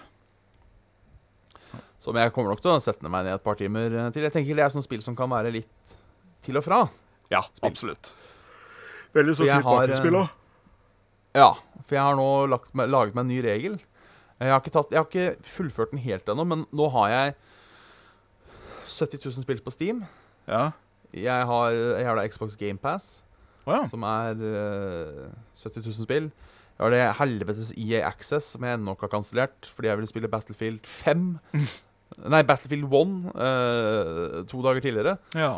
Speaker 2: Som jeg kommer nok til å sette meg ned et par timer eh, til. Jeg tenker det er sånn spill som kan være litt til og fra.
Speaker 3: Ja, absolutt. Veldig
Speaker 2: Så jeg har, eh,
Speaker 3: også.
Speaker 2: Ja, for jeg har nå lagt meg, laget meg en ny regel. Jeg har, ikke tatt, jeg har ikke fullført den helt ennå, men nå har jeg 70 000 spill på Steam.
Speaker 3: Ja.
Speaker 2: Jeg har, jeg har da Xbox GamePass,
Speaker 3: Å ja.
Speaker 2: som er eh, 70 000 spill. Jeg har det helvetes EA Access, som jeg ennå ikke har kansellert, fordi jeg ville spille Battlefield 5.
Speaker 3: *laughs*
Speaker 2: Nei, Battlefield 1 eh, to dager tidligere.
Speaker 3: Ja.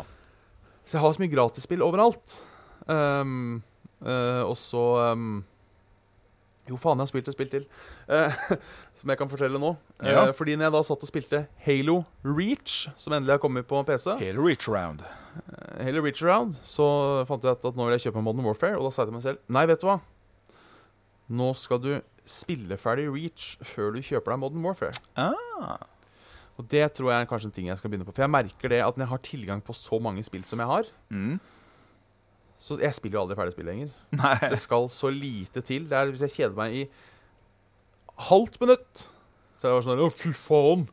Speaker 2: Så jeg har så mye gratisspill overalt. Um, eh, og så um, Jo, faen, jeg har spilt et spill til. eh, *laughs* som jeg kan fortelle nå. Eh,
Speaker 3: Ja.
Speaker 2: fordi når jeg da satt og spilte Halo Reach, som endelig har kommet på PC,
Speaker 3: Hele reach round.
Speaker 2: eh, Halo Reach Around, så fant jeg ut at nå vil jeg kjøpe meg Modern Warfare, og da sa jeg til meg selv Nei, vet du hva? Nå skal du spille ferdig Reach før du kjøper deg Modern Warfare.
Speaker 3: Ah.
Speaker 2: Og det tror jeg er kanskje en ting jeg skal begynne på. For jeg merker det at når jeg har tilgang på så mange spill som jeg har
Speaker 3: Mm.
Speaker 2: Så jeg spiller jo aldri ferdig spill lenger.
Speaker 3: Nei.
Speaker 2: Det skal så lite til. Det er Hvis jeg kjeder meg i halvt minutt, så er det bare sånn Å, fy faen!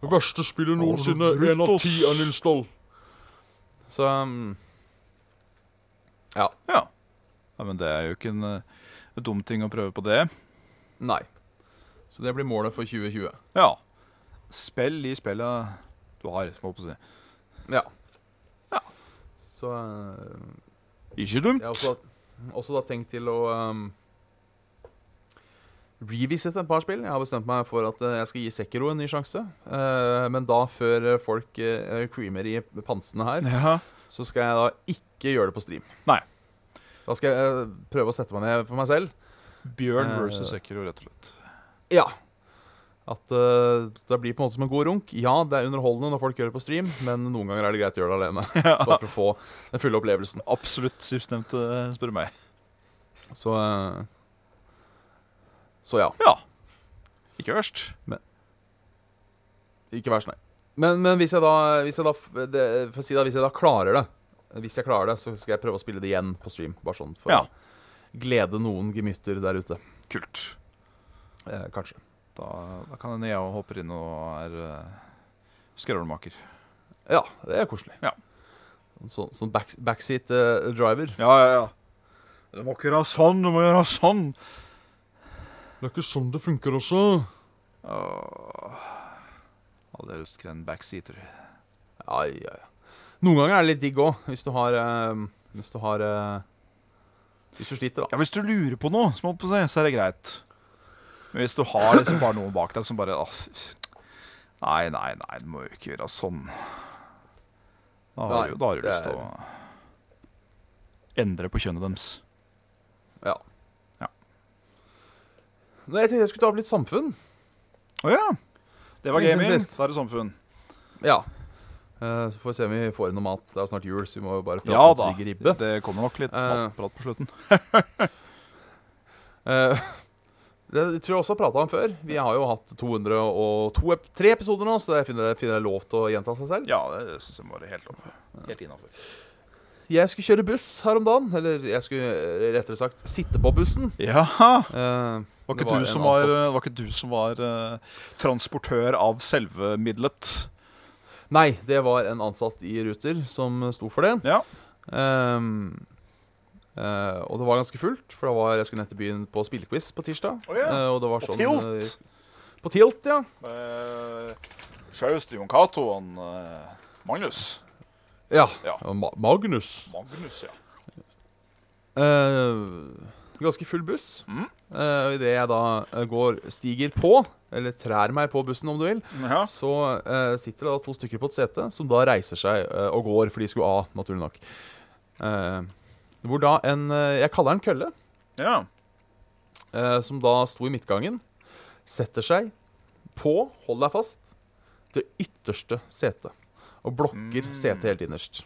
Speaker 2: Det verste spillet noensinne.
Speaker 3: brutt,
Speaker 2: Én av ti
Speaker 3: ass.
Speaker 2: er Nils Dahl. Så um, Ja.
Speaker 3: Ja. ja. Men det er jo ikke en eh, dum ting å prøve på det.
Speaker 2: Nei. Så det blir målet for 2020.
Speaker 3: Ja. Spill i spillet du har, må jeg på å si.
Speaker 2: Ja.
Speaker 3: Ja.
Speaker 2: Så uh,
Speaker 3: Ikke dumt.
Speaker 2: Jeg har også, også da tenkt til å um, revisite et par spill. Jeg har bestemt meg for at eh, jeg skal gi Sekiro en ny sjanse. Eh, men da før eh, folk eh, creamer i pansene her,
Speaker 3: Ja.
Speaker 2: så skal jeg da ikke gjøre det på stream.
Speaker 3: Nei.
Speaker 2: Da skal jeg eh, prøve å sette meg ned for meg selv.
Speaker 3: Bjørn
Speaker 2: Eh.
Speaker 3: versus Sekiro, rett og slett.
Speaker 2: Ja. At eh, det blir på en måte som en god runk. Ja, det er underholdende når folk gjør det på stream, men noen ganger er det greit å gjøre det alene. Bare for å få den fulle opplevelsen.
Speaker 3: Absolutt sistnevnte, eh, spør du meg.
Speaker 2: Så eh, Så ja.
Speaker 3: Ja. Ikke verst.
Speaker 2: Ikke vær snill. Men, men hvis jeg da, hvis jeg da f- det, for å si det, hvis jeg da klarer det, Hvis jeg klarer det, så skal jeg prøve å spille det igjen på stream. Bare sånn for
Speaker 3: Ja.
Speaker 2: å glede noen gemytter der ute.
Speaker 3: Kult.
Speaker 2: Eh, kanskje.
Speaker 3: Da, da kan hende jeg òg hopper inn og er uh, skrevlmaker.
Speaker 2: Ja, det er koselig.
Speaker 3: Ja.
Speaker 2: Sånn sånn back, backseat eh, driver.
Speaker 3: Ja, ja, ja. Du må ikke gjøre sånn, du må gjøre sånn.
Speaker 1: Det er ikke sånn det funker også.
Speaker 3: Åh. Hadde jeg lyst til å en backseater.
Speaker 2: Ja, ja, ja. Noen ganger er det litt digg òg, hvis du har eh, Hvis du har eh, Hvis du sliter, da.
Speaker 3: Ja, Hvis du lurer på noe, som holdt på å si, så er det greit. Men hvis du har liksom bare noen bak deg som bare ah, f- Nei, nei, nei, du må jo ikke gjøre sånn. Da har
Speaker 2: Nei,
Speaker 3: du, da har du
Speaker 2: det
Speaker 3: lyst til å endre på kjønnet deres.
Speaker 2: Ja.
Speaker 3: Ja.
Speaker 2: Nei, jeg tenkte jeg skulle ta opp litt samfunn.
Speaker 3: Å ja! Det var
Speaker 2: Men siden
Speaker 3: gaming.
Speaker 2: sist.
Speaker 3: Da er det samfunn.
Speaker 2: Ja. Eh, Så får vi se om vi får inn noe mat. Det er jo snart jul, så vi må jo bare prate
Speaker 3: Ja
Speaker 2: om
Speaker 3: da.
Speaker 2: digg ribbe.
Speaker 3: Det kommer nok litt
Speaker 2: Eh.
Speaker 3: prat på slutten.
Speaker 2: Eh, *laughs* Det tror jeg også jeg prata om før. Vi har jo hatt 202 ep tre episoder nå, så jeg finner jeg finner det lov til å gjenta seg selv.
Speaker 3: Ja, det syns jeg var helt opp. Helt innafor.
Speaker 2: Jeg skulle kjøre buss her om dagen. Eller jeg skulle eh, rettere sagt sitte på bussen.
Speaker 3: Jaha!
Speaker 2: Eh,
Speaker 3: Var
Speaker 2: Det
Speaker 3: ikke,
Speaker 2: var
Speaker 3: du
Speaker 2: en
Speaker 3: som var,
Speaker 2: ansatt.
Speaker 3: var ikke du som var eh, transportør av selve middelet?
Speaker 2: Nei, det var en ansatt i Ruter som sto for det.
Speaker 3: Ja.
Speaker 2: Ehm, eh, og det var ganske fullt, for det var, jeg skulle ned til byen på spillequiz på tirsdag.
Speaker 3: Å ja,
Speaker 2: Eh, og det var
Speaker 3: På
Speaker 2: sånn,
Speaker 3: tilt!
Speaker 2: eh, På Tilt, ja.
Speaker 3: Eh, Sjaus til Jon Cato og han, eh, Magnus.
Speaker 2: Ja.
Speaker 3: Ja.
Speaker 2: Og Ma Magnus.
Speaker 3: Magnus, ja.
Speaker 2: Eh, ganske full buss.
Speaker 3: Mm.
Speaker 2: Eh, og Idet jeg da eh, går, stiger på, eller trær meg på bussen om du vil,
Speaker 3: ja.
Speaker 2: så eh, sitter det da to stykker på et sete, som da reiser seg eh, og går, for de skulle av, naturlig nok. Eh, hvor da en eh, Jeg kaller den kølle,
Speaker 3: Ja.
Speaker 2: eh, som da sto i midtgangen, setter seg på, hold deg fast, det ytterste setet. Og blokker
Speaker 3: Mm.
Speaker 2: setet helt innerst.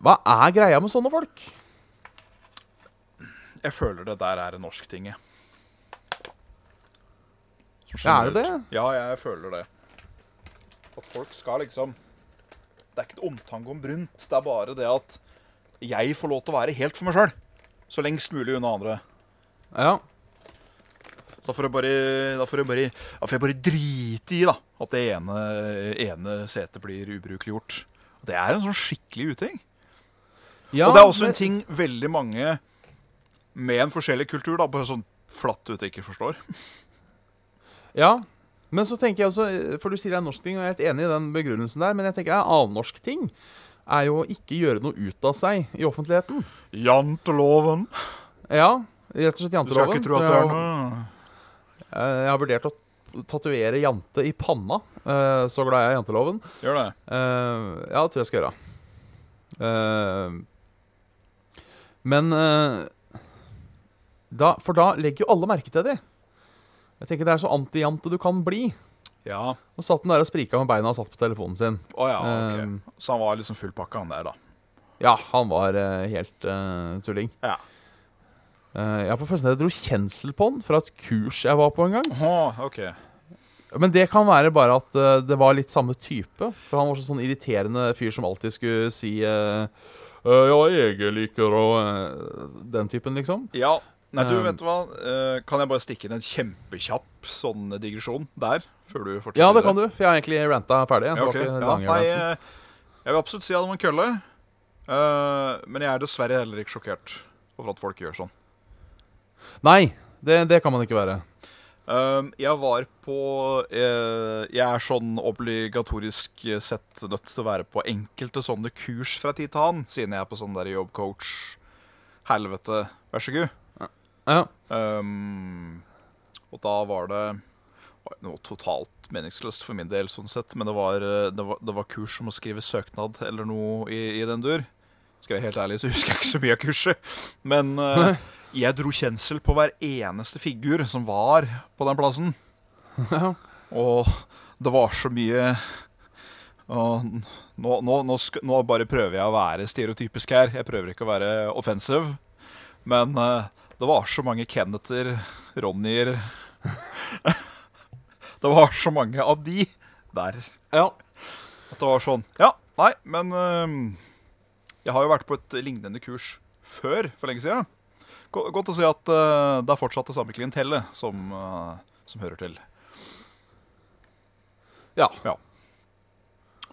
Speaker 2: Hva er greia med sånne folk?
Speaker 3: Jeg føler det der er en norsk ting, jeg. Som
Speaker 2: Ja, er det
Speaker 3: generelt. Ja, jeg føler det. At folk skal liksom Det er ikke et omtanke om brunt. Det er bare det at jeg får lov til å være helt for meg sjøl. Så lengst mulig unna andre.
Speaker 2: Ja.
Speaker 3: Da får jeg bare, da får jeg bare, da får jeg bare drite i da, at det ene, ene setet blir ubrukelig gjort. Det er en sånn skikkelig uting.
Speaker 2: Ja,
Speaker 3: og det er også
Speaker 2: men-
Speaker 3: en ting veldig mange med en forskjellig kultur da, bare sånn flatt ut ikke forstår.
Speaker 2: Ja, men så tenker jeg også eh, For du sier det er norsk ting, og jeg er helt enig i den begrunnelsen der, men jeg tenker en annen norsk ting er jo å ikke gjøre noe ut av seg i offentlijanten.
Speaker 3: Janteloven.
Speaker 2: Ja, Rett og slett
Speaker 3: Du skal
Speaker 2: janteloven.
Speaker 3: ikke tro
Speaker 2: så
Speaker 3: at det er
Speaker 2: jeg-
Speaker 3: noe
Speaker 2: Eh, Jeg har vurdert å tatovere jante i panna. Eh, Så glad jeg er i janteloven.
Speaker 3: Gjør det.
Speaker 2: Eh, Ja, det tror jeg skal gjøre. Eh, Men eh, da, For da legger jo alle merke til det. Jeg tenker Det er så antijante du kan bli.
Speaker 3: Ja.
Speaker 2: Og satt den der og sprika med beina og satt på telefonen sin.
Speaker 3: Å ja, ok.
Speaker 2: Ehm.
Speaker 3: Så han var liksom fullpakka, han der, da.
Speaker 2: Ja, han var eh, helt eh, tulling.
Speaker 3: Ja.
Speaker 2: Eh, jeg har på følelsen at jeg dro kjensel på han fra et kurs jeg var på en gang.
Speaker 3: Åh, ok.
Speaker 2: Men det kan være bare at eh, det var litt samme type. For han var sånn, sånn irriterende fyr som alltid skulle si eh, «Øh, Ja, jeg liker å eh, Den typen, liksom.
Speaker 3: Ja. Nei, du,
Speaker 2: Ehm.
Speaker 3: vet du hva? Eh, Kan jeg bare stikke inn en kjempekjapp sånn digresjon der? Før du fortsetter?
Speaker 2: Ja, det kan du, for jeg har egentlig ranta ferdig. jeg. Det
Speaker 3: Ja,
Speaker 2: var
Speaker 3: ok.
Speaker 2: ikke
Speaker 3: ja,
Speaker 2: lang
Speaker 3: nei,
Speaker 2: rant.
Speaker 3: eh, jeg vil absolutt si at det var en kølle. Eh, men jeg er dessverre heller ikke sjokkert over at folk gjør sånn.
Speaker 2: nei det, det kan man ikke være.
Speaker 3: Ehm, jeg var på eh, Jeg er sånn obligatorisk sett nødt til å være på enkelte sånne kurs fra tid til annen, siden jeg er på sånn der jobbcoach. Helvete, vær så god.
Speaker 2: Ja.
Speaker 3: Ehm, og da var det var det noe totalt meningsløst for min del, sånn sett. Men det var, eh, det var, det var kurs om å skrive søknad eller noe i, i den dur. Skal jeg være helt ærlig, så *laughs* husker jeg ikke så mye av kurset. Men eh, jeg dro kjensel på hver eneste figur som var på den plassen.
Speaker 2: Ja.
Speaker 3: Og det var så mye og n- nå, nå, nå, sk nå bare prøver jeg å være stereotypisk her. Jeg prøver ikke å være offensiv. Men eh, det var så mange Kennether, Ronnier *laughs* Det var så mange av de der
Speaker 2: ja.
Speaker 3: at det var sånn Ja, nei, men ehm, Jeg har jo vært på et lignende kurs før, for lenge siden. Go- Godt å se at eh, det er fortsatt det samme klientellet som, eh, som hører til.
Speaker 2: Ja.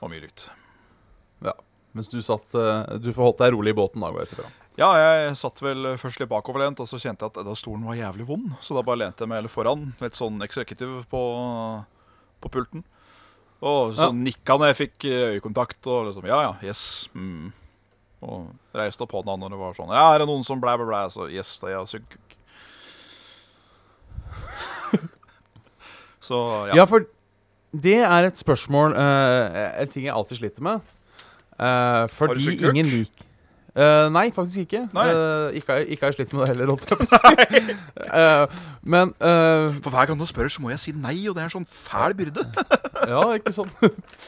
Speaker 3: Og mye lykt.
Speaker 2: Mens du satt eh, Du forholdt deg rolig i båten da, går jeg ut ifra.
Speaker 3: Ja, jeg satt vel først litt bakoverlent, og så kjente jeg at da stolen var jævlig vond. Så da bare lente jeg meg heller foran, litt sånn executive på, på pulten. Og så
Speaker 2: Ja.
Speaker 3: nikka når jeg fikk eh, øyekontakt, og liksom ja, ja, yes. Mm. Og reiste opp hånda når det var sånn Ja, er det noen som blæ, blæ, blæ? Så yes, det er jeg, sugd kukk. *laughs* så ja.
Speaker 2: Ja, for det er et spørsmål eh, En ting jeg alltid sliter med. Eh,
Speaker 3: du
Speaker 2: fordi
Speaker 3: sugd kuk?
Speaker 2: ingen lik Eh, Nei, faktisk ikke.
Speaker 3: Nei.
Speaker 2: Eh, ikke. har- Ikke har jeg slitt med det heller, holdt jeg på
Speaker 3: *laughs*
Speaker 2: å si. Eh, men eh,
Speaker 3: For hver gang du spør, så må jeg si nei, og det er en sånn fæl byrde.
Speaker 2: Ja, ikke sånn.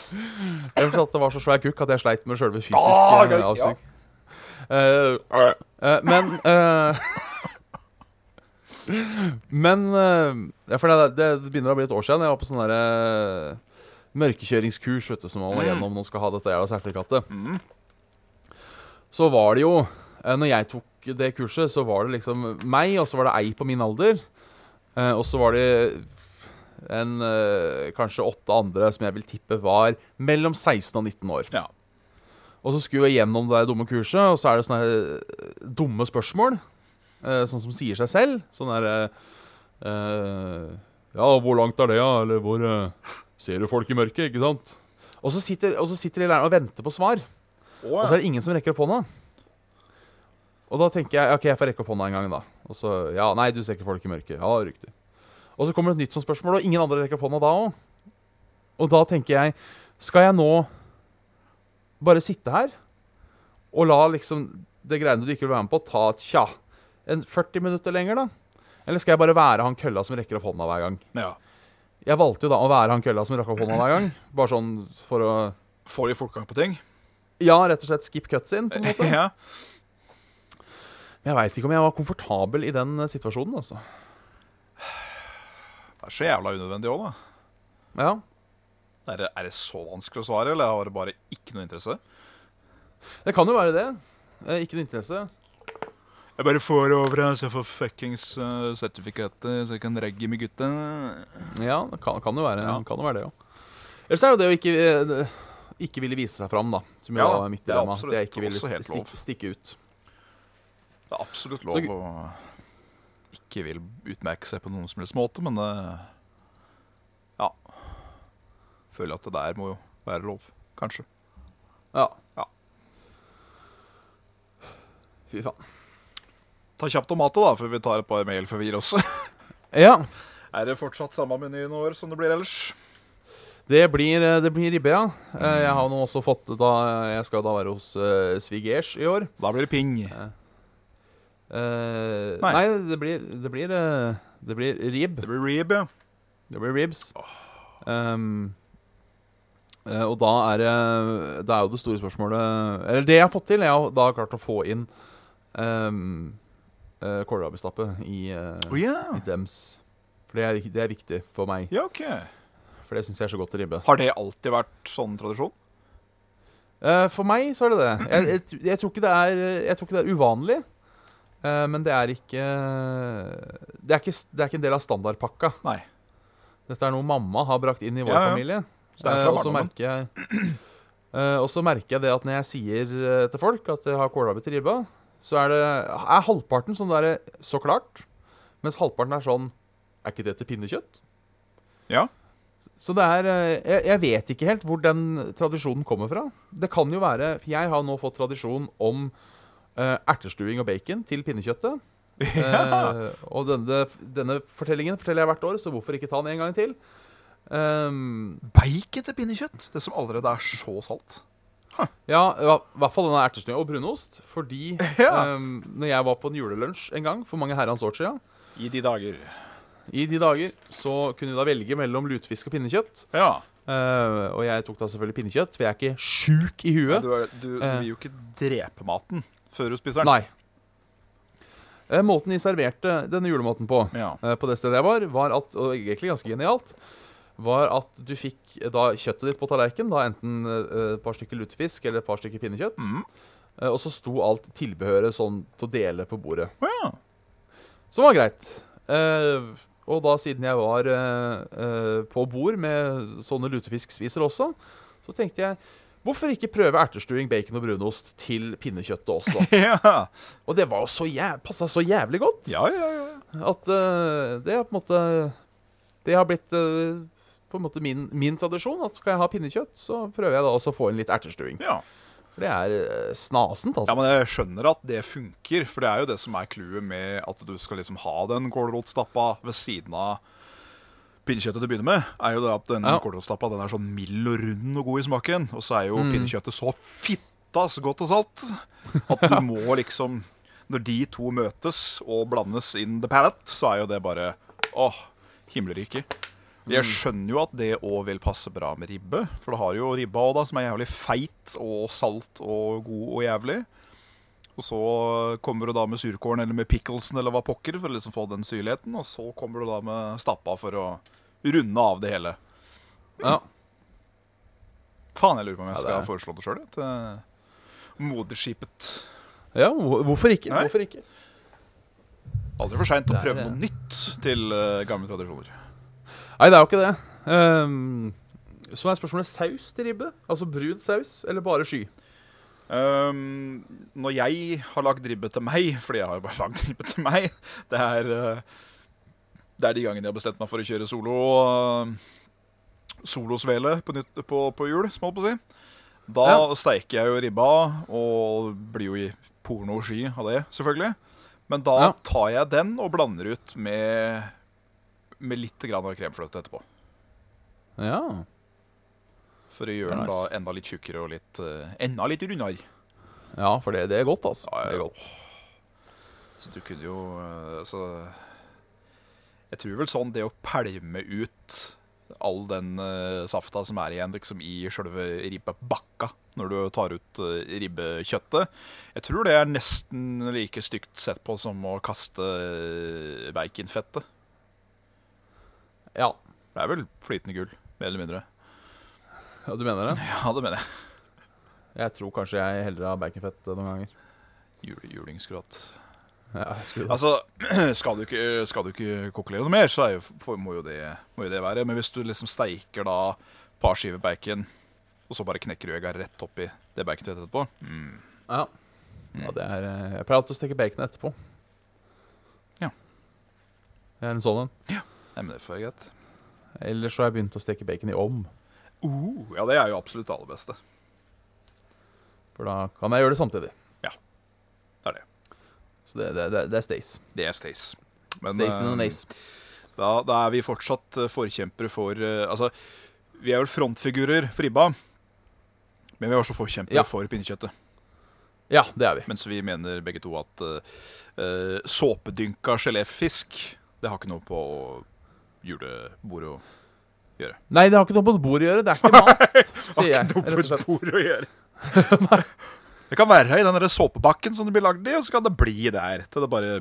Speaker 2: *laughs* Jeg fortalte at det var så svær kukk at jeg sleit med sjølve fysisk
Speaker 3: Ah,
Speaker 2: eh,
Speaker 3: ja.
Speaker 2: avsug. Eh, eh, men eh, *laughs* Men eh, ja, for det, det begynner å bli et år siden. Jeg var på sånn derre mørkekjøringskurs vet du, som man må
Speaker 3: Mm.
Speaker 2: gjennom når man skal ha dette jævla sertifikatet.
Speaker 3: Mm.
Speaker 2: Så var det jo eh, Når jeg tok det kurset, så var det liksom meg, og så var det ei på min alder. Eh, og så var det en, eh, kanskje åtte andre som jeg vil tippe var mellom 16 og 19 år.
Speaker 3: Ja.
Speaker 2: Og så skulle vi gjennom det der dumme kurset, og så er det sånne her, eh, dumme spørsmål. eh, sånn som sier seg selv. Sånn der eh, eh, Ja, hvor langt er det, ja? Eller hvor eh, Ser du folk i mørket, ikke sant? Og så sitter, og så sitter de lærerne og venter på svar. Og så er det ingen som rekker opp hånda. Og da tenker jeg ok, jeg får rekke opp hånda en gang, da. Og så ja, nei, du ser ikke folk i mørket. Ja, riktig. Og så kommer det et nytt sånt spørsmål, og ingen andre rekker opp hånda da òg. Og da tenker jeg skal jeg nå bare sitte her og la liksom det greiene du ikke vil være med på, ta tja, en 40 minutter lenger, da? Eller skal jeg bare være han kølla som rekker opp hånda hver gang?
Speaker 3: ja.
Speaker 2: Jeg valgte jo da å være han kølla som rakk opp hånda hver gang. Bare sånn for å
Speaker 3: Får de fortgang på ting?
Speaker 2: Ja, rett og slett skip cuts in, på en måte.
Speaker 3: *laughs* ja.
Speaker 2: Jeg veit ikke om jeg var komfortabel i den eh, situasjonen, altså.
Speaker 3: Det er så jævla unødvendig òg, da.
Speaker 2: Ja.
Speaker 3: Er det, er det så vanskelig å svare, eller har det bare ikke noe interesse?
Speaker 2: Det kan jo være det. Eh, Ikke en interesse.
Speaker 3: Jeg bare får det over her, så jeg får fuckings uh, sertifikatet, så jeg kan regge med gutta.
Speaker 2: Ja, det kan, kan jo være,
Speaker 3: Ja.
Speaker 2: kan jo være det òg. Ellers er det det å ikke, eh, ikke ville vise seg fram, da. Som jo
Speaker 3: Ja,
Speaker 2: var mitt
Speaker 3: det er
Speaker 2: dilemma. At
Speaker 3: absolutt
Speaker 2: jeg ikke ville
Speaker 3: også helt
Speaker 2: sti-
Speaker 3: lov.
Speaker 2: stikke, stikke ut.
Speaker 3: Det er absolutt
Speaker 2: Så
Speaker 3: lov
Speaker 2: gu-
Speaker 3: å ikke vil utmerke seg på noen som helst måte, men eh, ja. Føler at det der må jo være lov, kanskje.
Speaker 2: Ja.
Speaker 3: Ja.
Speaker 2: Fy faen.
Speaker 3: Ta kjapt om matet, da, før vi tar et par mail før vi gir oss. *laughs*
Speaker 2: Ja,
Speaker 3: Er det fortsatt samme menyen vår som det blir ellers?
Speaker 2: det blir, eh, det blir ribbe, ja. Eh, Jeg har nå også fått da, Jeg skal da være hos eh, svigers i år.
Speaker 3: Da blir det ping.
Speaker 2: Eh,
Speaker 3: Nei.
Speaker 2: nei, det blir Det blir, eh, det blir ribb.
Speaker 3: Det blir reeb, ja.
Speaker 2: Det blir ribs. Um, eh, og da er det Det er jo det store spørsmålet Eller det jeg har fått til, jeg har da klart å få inn um, uh, kålrabistappe i, eh,
Speaker 3: Å ja.
Speaker 2: i dems. For det er, det er viktig for meg.
Speaker 3: Ja, ok.
Speaker 2: For det syns jeg er så godt til ribbe.
Speaker 3: Har det alltid vært sånn tradisjon?
Speaker 2: Eh, for meg så er det det. Jeg, jeg, tr- jeg, tror, ikke det er, jeg tror ikke det er uvanlig. eh, men det er ikke Det er ikke, s- det er ikke en del av standardpakka.
Speaker 3: Nei.
Speaker 2: Dette er noe mamma har brakt inn i vår
Speaker 3: Ja, ja.
Speaker 2: familie.
Speaker 3: Så det er
Speaker 2: Eh,
Speaker 3: fra
Speaker 2: og så
Speaker 3: barndommen.
Speaker 2: merker jeg eh, Og så merker jeg det at når jeg sier eh, til folk at jeg har kålrabi til ribba, så er det er halvparten sånn derre så klart, mens halvparten er sånn Er ikke det til pinnekjøtt?
Speaker 3: Ja.
Speaker 2: Så det er eh, jeg, jeg vet ikke helt hvor den tradisjonen kommer fra. Det kan jo være For jeg har nå fått tradisjon om eh, ertestuing og bacon til pinnekjøttet.
Speaker 3: *laughs* Ja.
Speaker 2: Eh, og denne, denne fortellingen forteller jeg hvert år, så hvorfor ikke ta den en gang til? Ehm,
Speaker 3: Bacon til pinnekjøtt? Det som allerede er så salt.
Speaker 2: ja, i hva- hvert fall denne ertesnø og brunost. Fordi
Speaker 3: *laughs* Ja.
Speaker 2: ehm, når jeg var på en julelunsj en gang for mange herrens år siden,
Speaker 3: I de dager.
Speaker 2: i de dager, så kunne vi da velge mellom lutefisk og pinnekjøtt.
Speaker 3: Ja.
Speaker 2: Eh, og jeg tok da selvfølgelig pinnekjøtt, for jeg er ikke sjuk i huet.
Speaker 3: Du, er- du, du
Speaker 2: Eh.
Speaker 3: vil jo ikke drepe maten før du spiser den.
Speaker 2: Nei. Eh, måten de serverte denne julematen på,
Speaker 3: Ja.
Speaker 2: eh, på det stedet jeg var, var at, og egentlig ganske genialt, var at du fikk eh, da kjøttet ditt på tallerken, da enten eh, et par stykker lutefisk eller et par stykker pinnekjøtt,
Speaker 3: Mm.
Speaker 2: eh, og så sto alt tilbehøret sånn til å dele på bordet.
Speaker 3: Å ja.
Speaker 2: Som var greit. Eh, og da siden jeg var eh, eh, på bord med sånne lutefiskspiser også, så tenkte jeg Hvorfor ikke prøve ertestuing, bacon og brunost til pinnekjøttet også?
Speaker 3: *laughs* Ja.
Speaker 2: Og det var jo så jæv passa så jævlig godt
Speaker 3: Ja, ja, ja.
Speaker 2: at eh, det er på en måte Det har blitt eh, på en måte min, min tradisjon. At skal jeg ha pinnekjøtt, så prøver jeg da også å få inn litt ertestuing.
Speaker 3: ja.
Speaker 2: For det er eh, snasent,
Speaker 3: Ja,
Speaker 2: altså.
Speaker 3: men jeg skjønner at det funker, for det er jo det som er clouet med at du skal liksom ha den kålrotstappa ved siden av pinnekjøttet du begynner med, er jo det at den
Speaker 2: Ja.
Speaker 3: kålrotstappa den er sånn mild og rund og god i smaken, og så er jo
Speaker 2: Mm.
Speaker 3: pinnekjøttet så fitta så godt og salt at
Speaker 2: *laughs*
Speaker 3: du må liksom Når de to møtes og blandes in the palate, så er jo det bare åh, himmelrike. Jeg
Speaker 2: Mm.
Speaker 3: skjønner jo at det òg vil passe bra med ribbe. For det har jo ribba òg, da, som er jævlig feit og salt og god og jævlig. Og så kommer du da med surkålen eller med picklesen eller hva pokker for å liksom få den syrligheten. Og så kommer du da med stappa for å runde av det hele.
Speaker 2: Ja.
Speaker 3: Faen, jeg lurer på om jeg
Speaker 2: Ja, det
Speaker 3: skal
Speaker 2: er-
Speaker 3: foreslå det sjøl, til moderskipet.
Speaker 2: ja, hvor- hvorfor ikke?
Speaker 3: Nei.
Speaker 2: Hvorfor ikke?
Speaker 3: Aldri for seint å
Speaker 2: Det er
Speaker 3: prøve
Speaker 2: det.
Speaker 3: noe nytt til eh, gamle tradisjoner.
Speaker 2: Nei, det er jo ikke det. Ehm, så er spørsmålet saus til ribbe. Altså brun saus, eller bare sky?
Speaker 3: Ehm, når jeg har lagd ribbe til meg, fordi jeg har jo bare lagd ribbe til meg Det er, eh, det er de gangene jeg har bestemt meg for å kjøre solo eh, solosvele på, nytt- på, på jul, som jeg holdt på å si. Da steiker jeg jo ribba, og blir jo i pornosky av det, selvfølgelig. Men da
Speaker 2: Ja.
Speaker 3: tar jeg den og blander ut med, med litt grann av kremfløte etterpå.
Speaker 2: Ja.
Speaker 3: For å gjøre
Speaker 2: Ja,
Speaker 3: den da
Speaker 2: nice.
Speaker 3: enda litt tjukkere og litt, eh, enda litt rundere.
Speaker 2: ja, for det, det er godt, altså.
Speaker 3: Ja, ja,
Speaker 2: Det er
Speaker 3: ja.
Speaker 2: godt.
Speaker 3: Så du kunne jo eh, altså, Jeg tror vel sånn det å pælme ut all den eh, safta som er igjen liksom i sjølve ribbebakka når du tar ut eh, ribbekjøttet Jeg tror det er nesten like stygt sett på som å kaste eh, baconfettet.
Speaker 2: Ja.
Speaker 3: Det er vel flytende gull, mer eller mindre. *laughs*
Speaker 2: ja, du mener det?
Speaker 3: Ja, det mener jeg.
Speaker 2: Jeg tror kanskje jeg heller har baconfett eh, noen ganger.
Speaker 3: Jule, julingsgråt.
Speaker 2: Ja, jeg skulle
Speaker 3: Altså, *clears throat* skal du ikke, skal du ikke kokkelere noe mer, så er jo, får- må, jo det, må jo det være. Men hvis du liksom steiker da et par skiver bacon, og så bare knekker du egga rett oppi det baconet etterpå mm.
Speaker 2: Ja. ja det er, eh, jeg pleier alltid å steke bacon etterpå.
Speaker 3: Ja.
Speaker 2: Jeg er en sånn en.
Speaker 3: Nei, men det får være greit.
Speaker 2: Ellers så har jeg begynt å steke bacon i ovn.
Speaker 3: Uh, ja, det er jo absolutt det aller beste.
Speaker 2: For da kan jeg gjøre det samtidig.
Speaker 3: Det er det.
Speaker 2: Så det, det, det, det er Stace.
Speaker 3: Det er Stace.
Speaker 2: Stace and an
Speaker 3: eh,
Speaker 2: Ace.
Speaker 3: da, da er vi fortsatt eh, forkjempere for eh, Altså, vi er vel frontfigurer for Ibba, men vi er også forkjempere
Speaker 2: Ja.
Speaker 3: for pinnekjøttet.
Speaker 2: Ja, det er vi.
Speaker 3: Mens vi mener begge to at eh, eh, såpedynka geléfisk, det har ikke noe på julebordet å
Speaker 2: Nei, det har ikke noe på et bord å gjøre.
Speaker 3: *laughs*
Speaker 2: Det er ikke mat, sier jeg.
Speaker 3: noe på
Speaker 2: rett og
Speaker 3: et
Speaker 2: slett.
Speaker 3: bord å gjøre. det kan være i den der såpebakken som det blir lagd i, og så kan det bli der til det bare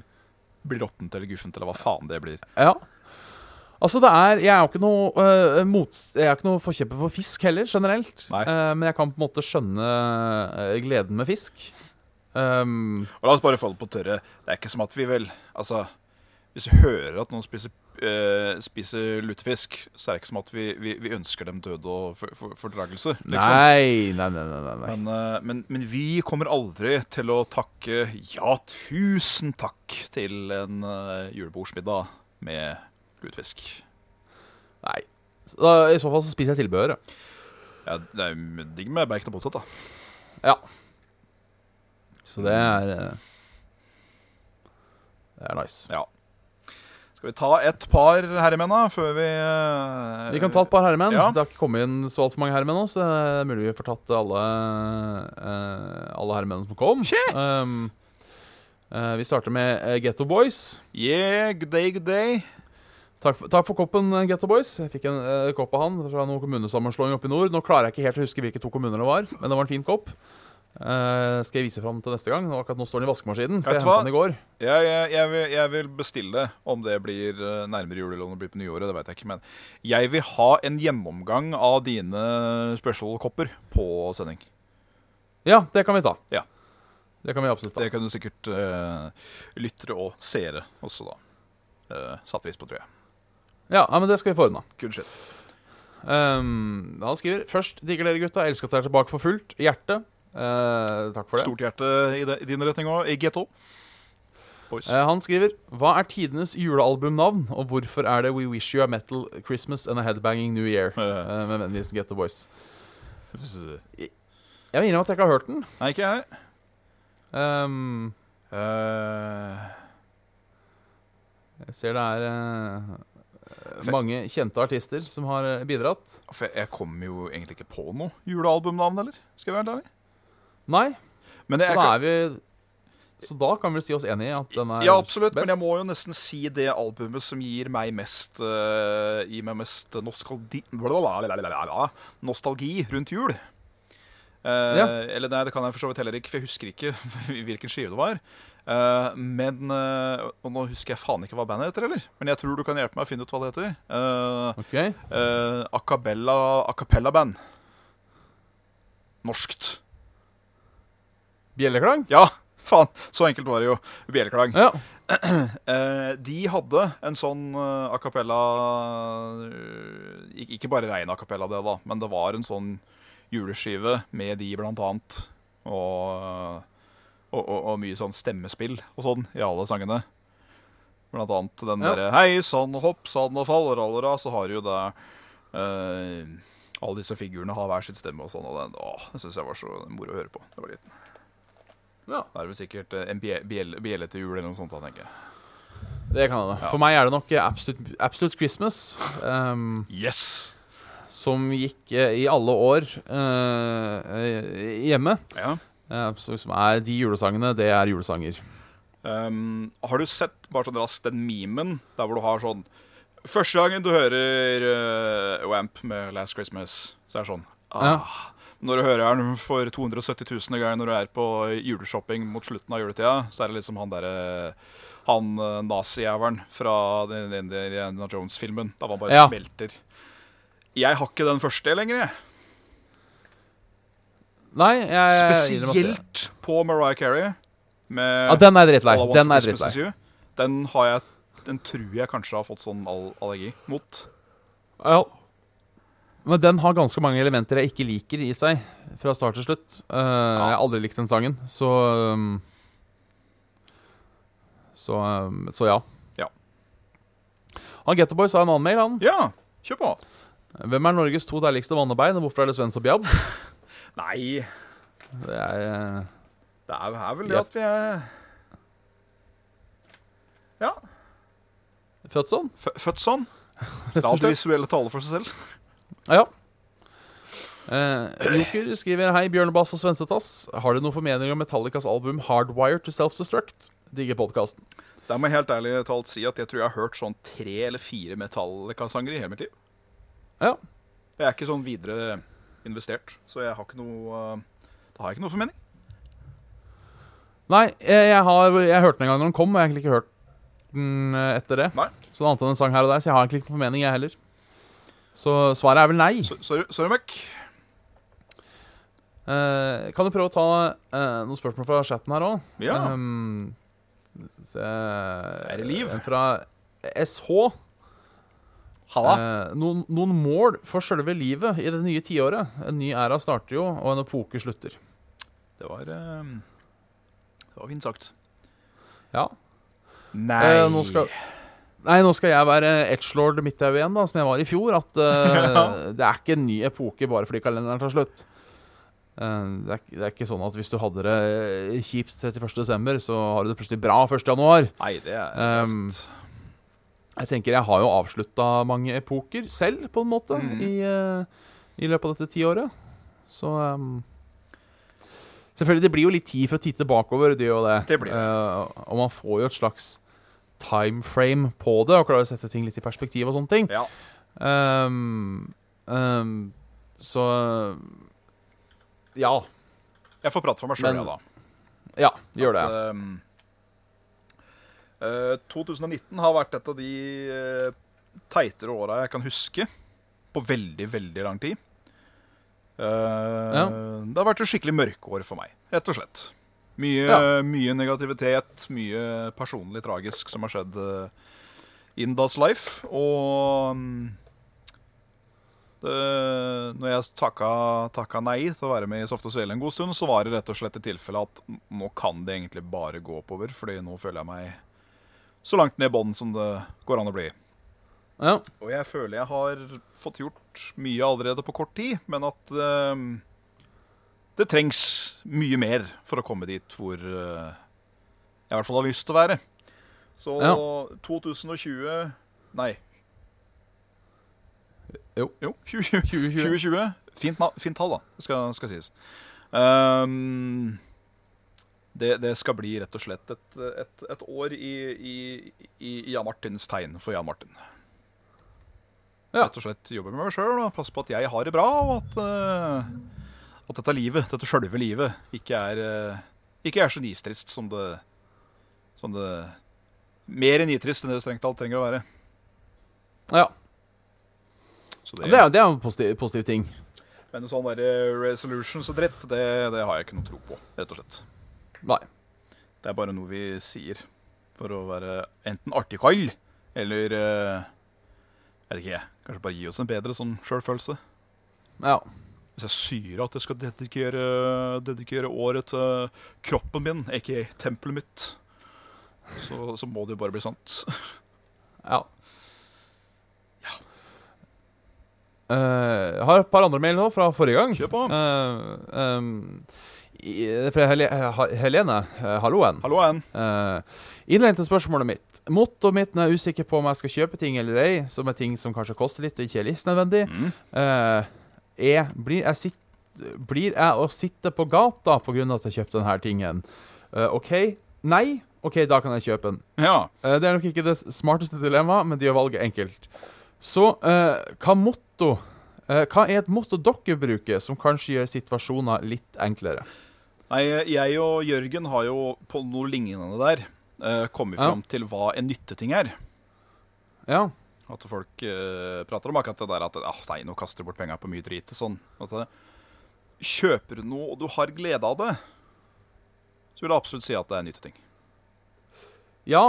Speaker 3: blir råttent eller guffent eller hva faen det blir.
Speaker 2: Ja. Altså, det er Jeg er jo ikke noe øh, mot, Jeg er ikke noe forkjemper for fisk heller, generelt.
Speaker 3: Nei.
Speaker 2: Eh, men jeg kan på en måte skjønne eh, gleden med fisk. Um,
Speaker 3: Og la oss bare få det på tørre. Det er ikke som at vi vel Altså, hvis vi hører at noen spiser, eh, spiser lutefisk, så er det ikke som at vi, vi, vi ønsker dem død og for, for, fordragelse. Liksom.
Speaker 2: nei, nei, nei, nei, nei, nei.
Speaker 3: Men, eh, men, men vi kommer aldri til å takke ja, tusen takk til en eh, julebordsmiddag med lutefisk.
Speaker 2: nei. Så, da- I så fall så spiser jeg tilbehøret.
Speaker 3: Ja, det er jo digg med bacon og potet, da.
Speaker 2: Ja. Så det er eh, Det er nice.
Speaker 3: Ja. Skal vi ta et par herremenn, da, før vi eh,
Speaker 2: Vi kan ta et par herremenn.
Speaker 3: Ja.
Speaker 2: Det har ikke kommet inn så altfor mange herremenn nå, så det er mulig vi får tatt alle, eh, alle herremennene som kom.
Speaker 3: Skje!
Speaker 2: Um, eh, vi starter med eh, Getto Boys.
Speaker 3: Yeah, good day, good day.
Speaker 2: Takk for, takk for koppen, eh, Getto Boys. Jeg fikk en eh, kopp av han fra noen kommunesammenslåing oppe i nord. Nå klarer jeg ikke helt å huske hvilke to kommuner det var, men det var en fin kopp. Eh, skal jeg vise fram til neste gang. Nå- Akkurat nå står den i vaskemaskinen. For
Speaker 3: Vet
Speaker 2: jeg
Speaker 3: du hva?
Speaker 2: hentet den i går
Speaker 3: Jeg, jeg, jeg, vil, jeg vil bestille, om det blir eh, nærmere jul eller om det blir på nyåret. det vet jeg ikke, men Jeg vil ha en gjennomgang av dine special-kopper på sending.
Speaker 2: Ja, det kan vi ta.
Speaker 3: Ja.
Speaker 2: Det kan vi absolutt ta.
Speaker 3: Det kan du sikkert eh, lyttere og seere også, da. Uh, satt pris på, tror jeg.
Speaker 2: Ja, ja, men det skal vi få unna.
Speaker 3: Good shit.
Speaker 2: Ehm, han skriver Først digger dere gutta, elsker at dere er tilbake for fullt. Hjerte. Eh, takk for det.
Speaker 3: Stort hjerte i, de, i din retning òg, i G2. Boys.
Speaker 2: Eh, han skriver Hva er tidenes julealbumnavn, og hvorfor er det We Wish You A Metal Christmas And A Headbanging New Year?
Speaker 3: Eh,
Speaker 2: Eh, med vennligheten Get The Boys. Jeg vil innrømme at jeg ikke har hørt den.
Speaker 3: nei, ikke jeg.
Speaker 2: Ehm,
Speaker 3: Eh,
Speaker 2: jeg ser det er eh, mange kjente artister som har eh, bidratt.
Speaker 3: For jeg, jeg kom jo egentlig ikke på noe julealbumnavn, eller? Skal jeg være helt ærlig?
Speaker 2: Nei,
Speaker 3: Men jeg,
Speaker 2: så da er vi Så da kan vi si oss enig i at den er
Speaker 3: ja, absolutt,
Speaker 2: best.
Speaker 3: men jeg må jo nesten si det albumet som gir meg mest eh, Gir meg mest nostalgi, blablabla, nostalgi rundt jul. Eh,
Speaker 2: Ja.
Speaker 3: Eller nei, det kan jeg for så vidt heller ikke, for jeg husker ikke *laughs* hvilken skive det var. Eh, men eh, Og nå husker jeg faen ikke hva bandet heter, eller? Men jeg tror du kan hjelpe meg å finne ut hva det heter. Eh,
Speaker 2: Ok.
Speaker 3: eh, acapella, acapella-band. Norskt.
Speaker 2: Bjelleklang?
Speaker 3: Ja, faen. Så enkelt var det jo. Bjelleklang.
Speaker 2: Ja.
Speaker 3: Eh, de hadde en sånn eh, a cappella eh, ik- Ikke bare rein a cappella, det, da, men det var en sånn juleskive med de, blant annet. Og, og, og, og mye sånn stemmespill og sånn i alle sangene. Blant annet den
Speaker 2: Ja.
Speaker 3: derre Hei sann og hopp sann og fallerallera, så har jo det eh, Alle disse figurene har hver sitt stemme og sånn. Og det, åh, det syns jeg var så moro å høre på. Det var litt
Speaker 2: ja.
Speaker 3: da er det vel sikkert eh, en bjel- bjelle bjelle til jul eller noe sånt. da, tenker jeg.
Speaker 2: Det kan hende.
Speaker 3: Ja.
Speaker 2: For meg er det nok eh, Absolute, Absolute Christmas, ehm,
Speaker 3: Yes!
Speaker 2: som gikk eh, i alle år eh, eh, hjemme.
Speaker 3: Ja.
Speaker 2: Eh, så som er de julesangene, det er julesanger.
Speaker 3: Um, har du sett bare sånn raskt den memen der hvor du har sånn Første gangen du hører eh, Wamp med Last Christmas, så er det sånn
Speaker 2: Ja.
Speaker 3: ah. Når du hører den for 270 000. gang når du er på juleshopping mot slutten av juletida, så er det liksom han derre Han eh, nazijævelen fra den den- den Indiana Jones-filmen. Da man bare
Speaker 2: Ja.
Speaker 3: smelter. Jeg har ikke den første lenger, jeg.
Speaker 2: Nei, jeg- jeg Eh, innrømmer at det-
Speaker 3: Spesielt på Mariah Carey. Med
Speaker 2: Ja, den er drittlei.
Speaker 3: All I Want
Speaker 2: Den
Speaker 3: for
Speaker 2: er
Speaker 3: Christmas
Speaker 2: drittlei.
Speaker 3: Is You. Den har jeg Den tror jeg kanskje har fått sånn all allergi mot.
Speaker 2: Ja. Men den har ganske mange elementer jeg ikke liker i seg, fra start til slutt. Eh, Jeg har aldri likt den sangen, så um, så, um, så ja.
Speaker 3: Ja.
Speaker 2: Han Getterboy sa en annen mail, han.
Speaker 3: Ja, kjør på.
Speaker 2: Hvem er Norges to deiligste mannebein, og hvorfor er det Svens og Bjabb?
Speaker 3: Nei,
Speaker 2: Det er eh,
Speaker 3: det er er vel det
Speaker 2: Ja.
Speaker 3: at vi er Ja.
Speaker 2: Født sånn,
Speaker 3: Fø- Født sånn.
Speaker 2: rett
Speaker 3: La
Speaker 2: og
Speaker 3: det
Speaker 2: slett.
Speaker 3: visuelle tale for seg selv.
Speaker 2: Ja. Eh, Joker skriver Hei, Bjørnebass og Svensetass. Har du noen formening om Metallicas album 'Hardwire to Self-Destruct'? Digger podkasten.
Speaker 3: Der må jeg helt ærlig talt si at jeg tror jeg har hørt sånn tre eller fire Metallica-sanger i hele mitt liv.
Speaker 2: Ja.
Speaker 3: Jeg er ikke sånn videre investert, så jeg har ikke noe eh, Da har jeg ikke noe formening.
Speaker 2: Nei, eh, jeg, jeg, har, jeg hørte den en gang når den kom, og jeg har egentlig ikke hørt den eh, etter det.
Speaker 3: Nei.
Speaker 2: Så det er annet enn en sang her og der, så jeg har egentlig ikke noen formening, jeg heller. Så svaret er vel nei.
Speaker 3: Så- Sorry, sorry Mac.
Speaker 2: Eh, kan du prøve å ta eh, noen spørsmål fra chatten her òg?
Speaker 3: Ja.
Speaker 2: er
Speaker 3: det liv?
Speaker 2: En Ehm, eh, fra SH.
Speaker 3: Halla.
Speaker 2: Eh, noen, noen mål for selve livet i det nye tiåret? En ny æra starter jo, og en epoke slutter.
Speaker 3: Det var eh, Det var fint sagt.
Speaker 2: Ja.
Speaker 3: Nei
Speaker 2: Eh, nå skal... Nei, nå skal jeg være edgelord Midthaug igjen, da, som jeg var i fjor. At
Speaker 3: *laughs*
Speaker 2: eh, det er ikke en ny epoke bare fordi kalenderen tar slutt. Eh, det, er, ikke- det er ikke sånn at hvis du hadde det eh, kjipt 31.12., så har du det plutselig bra 1.1.
Speaker 3: Nei, det er, det er
Speaker 2: Ehm,
Speaker 3: sant.
Speaker 2: Jeg tenker jeg har jo avslutta mange epoker selv, på en måte,
Speaker 3: Mhm.
Speaker 2: i, eh, i løpet av dette tiåret. Så ehm, Selvfølgelig, det blir jo litt tid for å titte bakover, det gjør jo det.
Speaker 3: Det blir det.
Speaker 2: Eh, og man får jo et slags time frame på det, og klarer å sette ting litt i perspektiv og sånne ting.
Speaker 3: Ja.
Speaker 2: Ehm, ehm, så Ja.
Speaker 3: Jeg får prate for meg sjøl,
Speaker 2: Men-
Speaker 3: jeg, da.
Speaker 2: Ja, gjør det.
Speaker 3: At, ehm, eh, 2019 har vært et av de eh, teitere åra jeg kan huske på veldig, veldig lang tid. Eh, Det har vært et skikkelig mørkeår for meg, rett og slett. Mye,
Speaker 2: Ja.
Speaker 3: mye negativitet, mye personlig tragisk som har skjedd eh, in das life. Og mm, det, når jeg takka, takka nei til å være med i Softe og Svele en god stund, så var det rett og slett i tilfelle at n- nå kan det egentlig bare gå oppover, fordi nå føler jeg meg så langt ned i bånn som det går an å bli.
Speaker 2: Ja.
Speaker 3: Og jeg føler jeg har fått gjort mye allerede på kort tid, men at eh, det trengs mye mer for å komme dit hvor eh, jeg i hvert fall har lyst til å være. Så
Speaker 2: Ja.
Speaker 3: 2020 Nei.
Speaker 2: Jo.
Speaker 3: jo 2020.
Speaker 2: 2020.
Speaker 3: 2020. Fint, na- fint tall, da. Det skal, skal sies. Ehm, det, det skal bli rett og slett et, et, et år i, i, i i Jan Martins tegn for Jan Martin.
Speaker 2: Ja.
Speaker 3: Rett og slett jobbe med meg sjøl og passe på at jeg har det bra, og at, eh, at dette livet, dette sjølve livet, ikke er, eh, ikke er så nitrist som det, som det Mer nitrist enn det strengt talt trenger å være.
Speaker 2: ja.
Speaker 3: Så
Speaker 2: Det er, det er en positiv, positiv ting.
Speaker 3: Men sånn der resolutions og dritt, det, det har jeg ikke noe tro på, rett og slett.
Speaker 2: Nei.
Speaker 3: Det er bare noe vi sier for å være enten artig kald, eller eh, Jeg vet ikke, jeg. Kanskje bare gi oss en bedre sånn sjølfølelse.
Speaker 2: Ja.
Speaker 3: Hvis jeg sier at jeg skal dedikere, dedikere året til kroppen min, ikke tempelet mitt, så, så må det jo bare bli sant.
Speaker 2: Ja. Eh, jeg har et par andre mail nå fra forrige gang.
Speaker 3: Kjør på.
Speaker 2: Eh, ehm, i- eh, fra Hel Ha- Helene. Uh, Halloen.
Speaker 3: Hallo, Ann.
Speaker 2: Uh, Innledning til spørsmålet mitt. Mottoet mitt når jeg er usikker på om jeg skal kjøpe ting eller ei, som er ting som kanskje koster litt og ikke er livsnødvendig,
Speaker 3: Mm.
Speaker 2: eh, er blir jeg, sitt, blir jeg å sitte på gata på grunn av at jeg kjøpte denne tingen? Eh, OK. Nei. OK, da kan jeg kjøpe den.
Speaker 3: Ja.
Speaker 2: Eh, Det er nok ikke det smarteste dilemmaet, men det gjør valget enkelt. Så eh, hva motto eh, Hva er et motto dere bruker som kanskje gjør situasjoner litt enklere?
Speaker 3: Nei, jeg og Jørgen har jo på noe lignende der eh, kommet
Speaker 2: Ja.
Speaker 3: fram til hva en nytteting er.
Speaker 2: Ja.
Speaker 3: At folk eh, prater om akkurat det der at ah, nei, nå kaster du bort penger på mye drit. og Sånn. At, eh, kjøper du noe og du har glede av det, så vil jeg absolutt si at det er en nytteting.
Speaker 2: ja,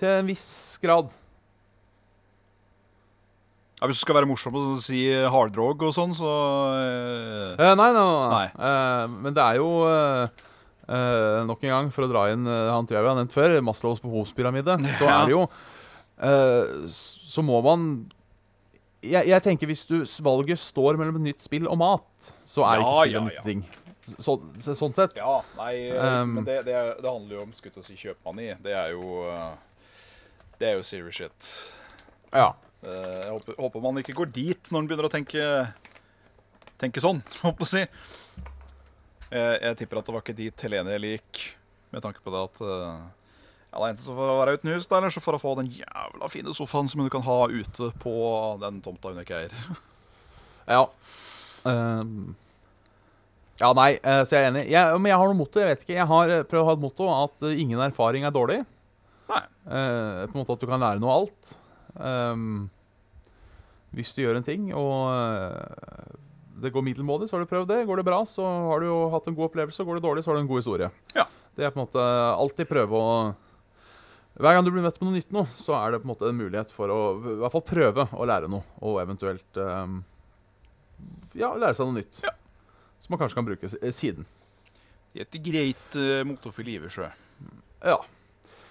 Speaker 2: til en viss grad.
Speaker 3: Ja, hvis du skal være morsom og si harddrog og sånn, så eh,
Speaker 2: Eh, nei, nei, nei. nei.
Speaker 3: Nei.
Speaker 2: Eh, men det er jo eh, eh, Nok en gang, for å dra inn eh, han tror jeg vi har nevnt før, Maslows
Speaker 3: *laughs*
Speaker 2: behovspyramide, så
Speaker 3: Ja.
Speaker 2: er det jo eh, s- Så må man jeg, jeg tenker hvis du s- valget står mellom et nytt spill og mat, så er
Speaker 3: Ja,
Speaker 2: ikke spill en
Speaker 3: ja, ja.
Speaker 2: nyttig ting. Så, så, sånn sett.
Speaker 3: Ja, nei, eh,
Speaker 2: Um,
Speaker 3: men det, det, det handler jo om skutt å si kjøpmann i. Det er jo eh, Det er jo serious shit.
Speaker 2: Ja.
Speaker 3: Eh, Jeg håper, håper man ikke går dit når man begynner å tenke Tenke sånn, *laughs* håper jeg å si. Jeg, jeg tipper at det var ikke dit Helene gikk, med tanke på det at eh, ja, det er Enten så får hun være uten hus, da, eller så får hun få den jævla fine sofaen som hun kan ha ute på den tomta hun ikke eier. *laughs*
Speaker 2: Ja. Ehm. ja, nei, eh, så jeg er enig. Jeg, men jeg har noe motto. Jeg vet ikke. Jeg har eh, prøvd å ha et motto at eh, ingen erfaring er dårlig.
Speaker 3: Nei.
Speaker 2: Eh, på en måte at du kan lære noe av alt. Ehm, hvis du gjør en ting, og eh, det går middelmådig, så har du prøvd det. Går det bra, så har du jo hatt en god opplevelse. Går det dårlig, så har du en god historie.
Speaker 3: Ja.
Speaker 2: Det er på en måte alltid prøve å Hver gang du blir møtt med noe nytt nå, så er det på en måte en mulighet for å i hvert fall prøve å lære noe, og eventuelt ehm, ja, lære seg noe nytt. Som man kanskje kan bruke s- eh, siden.
Speaker 3: Det er et greit uh, motofil Iversjø.
Speaker 2: Ja.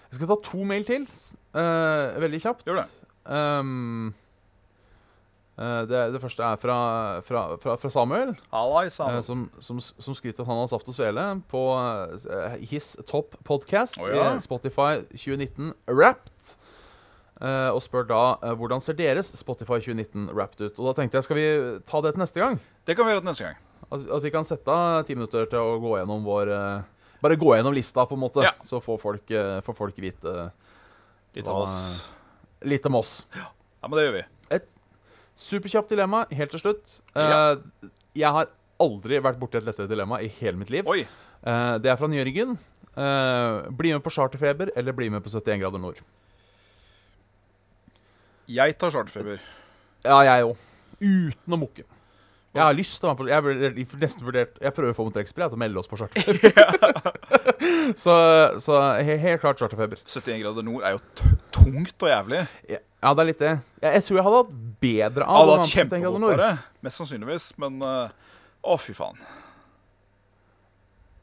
Speaker 2: Jeg skal ta to mail til, s- eh, veldig kjapt.
Speaker 3: Gjør det.
Speaker 2: Ehm, eh, det, det første er fra, fra, fra, fra Samuel,
Speaker 3: Hallais,
Speaker 2: eh, som, som, s- som skriver at han har Saft og Svele på eh, his top podcast
Speaker 3: Å ja.
Speaker 2: i Spotify 2019 Wrapped. eh, og spør da eh, hvordan ser deres Spotify 2019 Wrapped ut. Og da tenkte jeg, skal vi ta det til neste gang?
Speaker 3: Det kan vi gjøre til neste gang.
Speaker 2: At, at vi kan sette av ti minutter til å gå gjennom vår eh, Bare gå gjennom lista, på en måte,
Speaker 3: Ja.
Speaker 2: så får folk, eh, får folk vite
Speaker 3: Litt av
Speaker 2: Hva-
Speaker 3: oss.
Speaker 2: litt om oss.
Speaker 3: Ja, men det gjør vi.
Speaker 2: Superkjapt dilemma helt til slutt. Eh,
Speaker 3: Ja.
Speaker 2: Jeg har aldri vært borti et lettere dilemma i hele mitt liv.
Speaker 3: Oi.
Speaker 2: Eh, det er fra Jørgen. Eh, bli med på charterfeber eller bli med på 71 grader nord.
Speaker 3: Jeg tar charterfeber.
Speaker 2: Ja, jeg òg. Uten å mukke. Jeg har lyst til å være på Jeg, har vel- nesten vurdert, jeg prøver å få med trekkspill jeg, til å melde oss på charterfeber.
Speaker 3: *laughs*
Speaker 2: *laughs* så så he, helt klart charterfeber.
Speaker 3: 71 grader nord er jo t tungt og jævlig.
Speaker 2: Ja, ja, det er litt det. Jeg, jeg tror jeg hadde hatt bedre av
Speaker 3: Ja, det
Speaker 2: å være med
Speaker 3: var
Speaker 2: på 71 grader
Speaker 3: kjempegodt
Speaker 2: nord.
Speaker 3: av det. Mest sannsynligvis. Men eh, å, fy faen.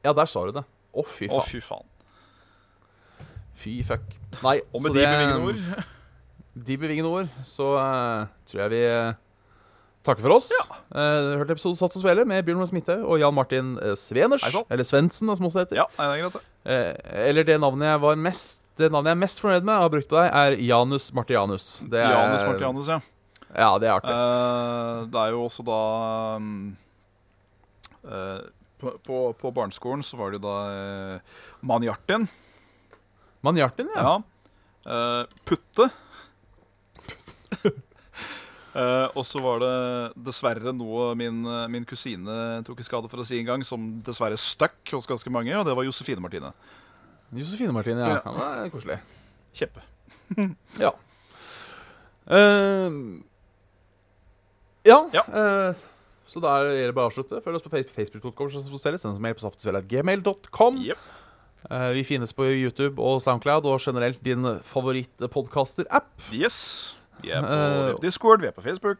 Speaker 2: Ja, der sa du det. Å, fy
Speaker 3: Å,
Speaker 2: faen.
Speaker 3: fy faen.
Speaker 2: Fy fuck. Nei,
Speaker 3: Og med
Speaker 2: så
Speaker 3: de
Speaker 2: det-
Speaker 3: bevingende
Speaker 2: *laughs*
Speaker 3: ord
Speaker 2: De bevingende ord. Så eh, tror jeg vi eh, takker for oss.
Speaker 3: Ja.
Speaker 2: Eh, du hørte episode Satt og Svele med Bjørn Magnus Midthaug og Jan Martin eh, Sveners.
Speaker 3: Hei sann.
Speaker 2: Eller Svendsen, som også heter.
Speaker 3: Ja, nei, det er greit, det.
Speaker 2: Eh, eller det navnet jeg var mest det navnet jeg er mest fornøyd med og har brukt på deg, er Janus Martianus. Det er,
Speaker 3: Janus Martianus, ja.
Speaker 2: Ja, det er artig.
Speaker 3: Eh, det er jo også da mm, eh, på, på, på barneskolen så var det jo da uh, Manjartin.
Speaker 2: Manjartin, ja.
Speaker 3: Ja. Eh,
Speaker 2: *laughs*
Speaker 3: putte. Eh, og så var det dessverre noe min, eh, min kusine tok i skade for å si en gang, som dessverre stakk hos ganske mange, og det var Josefine Martine.
Speaker 2: Josefine Martin, ja.
Speaker 3: Ja.
Speaker 2: Han er koselig.
Speaker 3: Kjempe.
Speaker 2: Ja. Ehm, ja.
Speaker 3: Ja.
Speaker 2: eh, så da er det bare å avslutte. Følg oss på fa- facebook.com. slash saftogsvele. Send oss en mail på saftogsvele.gmail.com.
Speaker 3: Jep.
Speaker 2: Eh, vi finnes på YouTube og Soundcloud og generelt din favorittpodkaster-app.
Speaker 3: Yes. Vi er
Speaker 2: Eh,
Speaker 3: på Discord, vi er på Facebook.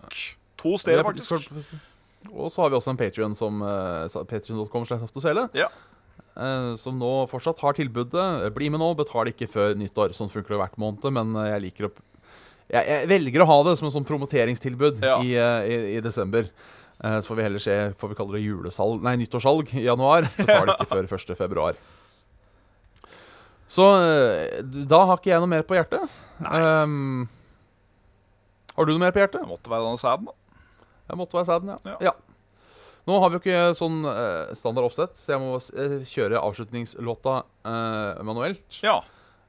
Speaker 3: To
Speaker 2: Vi
Speaker 3: steder,
Speaker 2: er på
Speaker 3: faktisk.
Speaker 2: Discord. Og så har vi også en Patreon som eh, sa- patreon.com slash saftogsvele.
Speaker 3: Ja.
Speaker 2: Eh, som nå fortsatt har tilbudet. Eh, Bli med nå, betal ikke før nyttår. Sånn funker det hvert måned, men eh, jeg liker å jeg, jeg velger å ha det som en sånn promoteringstilbud
Speaker 3: Ja.
Speaker 2: i, eh, i, i desember. Eh, så får vi heller se Får vi kalle det julesalg Nei, nyttårssalg i
Speaker 3: *laughs*
Speaker 2: januar. Betal ikke før 1. februar. Så eh, da har ikke jeg noe mer på hjertet. Ehm, har du noe mer på hjertet?
Speaker 3: Det måtte være denne sæden, da.
Speaker 2: Jeg måtte være sæden, ja.
Speaker 3: Ja.
Speaker 2: ja. Nå har vi jo ikke sånn eh, standard oppsett, så jeg må eh, kjøre avslutningslåta eh, manuelt.
Speaker 3: Ja,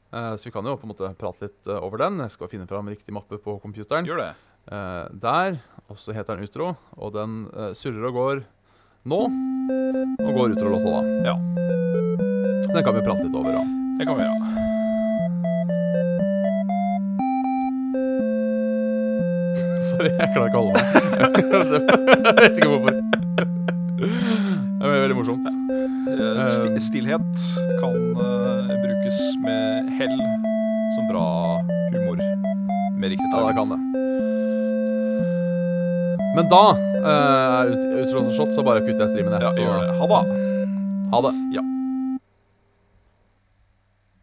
Speaker 2: Eh, så vi kan jo på en måte prate litt eh, over den. Jeg skal finne fram riktig mappe på computeren.
Speaker 3: gjør det.
Speaker 2: Eh, der. Og så heter den Utro, og den eh, surrer og går nå. Og går Utro-låta, da.
Speaker 3: Ja,
Speaker 2: Så den kan vi prate litt over. da.
Speaker 3: det kan vi gjøre.
Speaker 2: *laughs* Sorry, jeg klarer ikke å holde meg. *laughs* Jeg vet ikke hvorfor. *laughs* Det ble veldig morsomt.
Speaker 3: Eh, sti stillhet kan eh, brukes med hell som bra humor. Med riktig
Speaker 2: Ja, det
Speaker 3: tale.
Speaker 2: kan det. Men da eh, er ut, utrolig shot, så bare kutter jeg streamen, jeg.
Speaker 3: Ja, gjør det.
Speaker 2: så
Speaker 3: Ha det.
Speaker 2: ha det.
Speaker 3: Ja.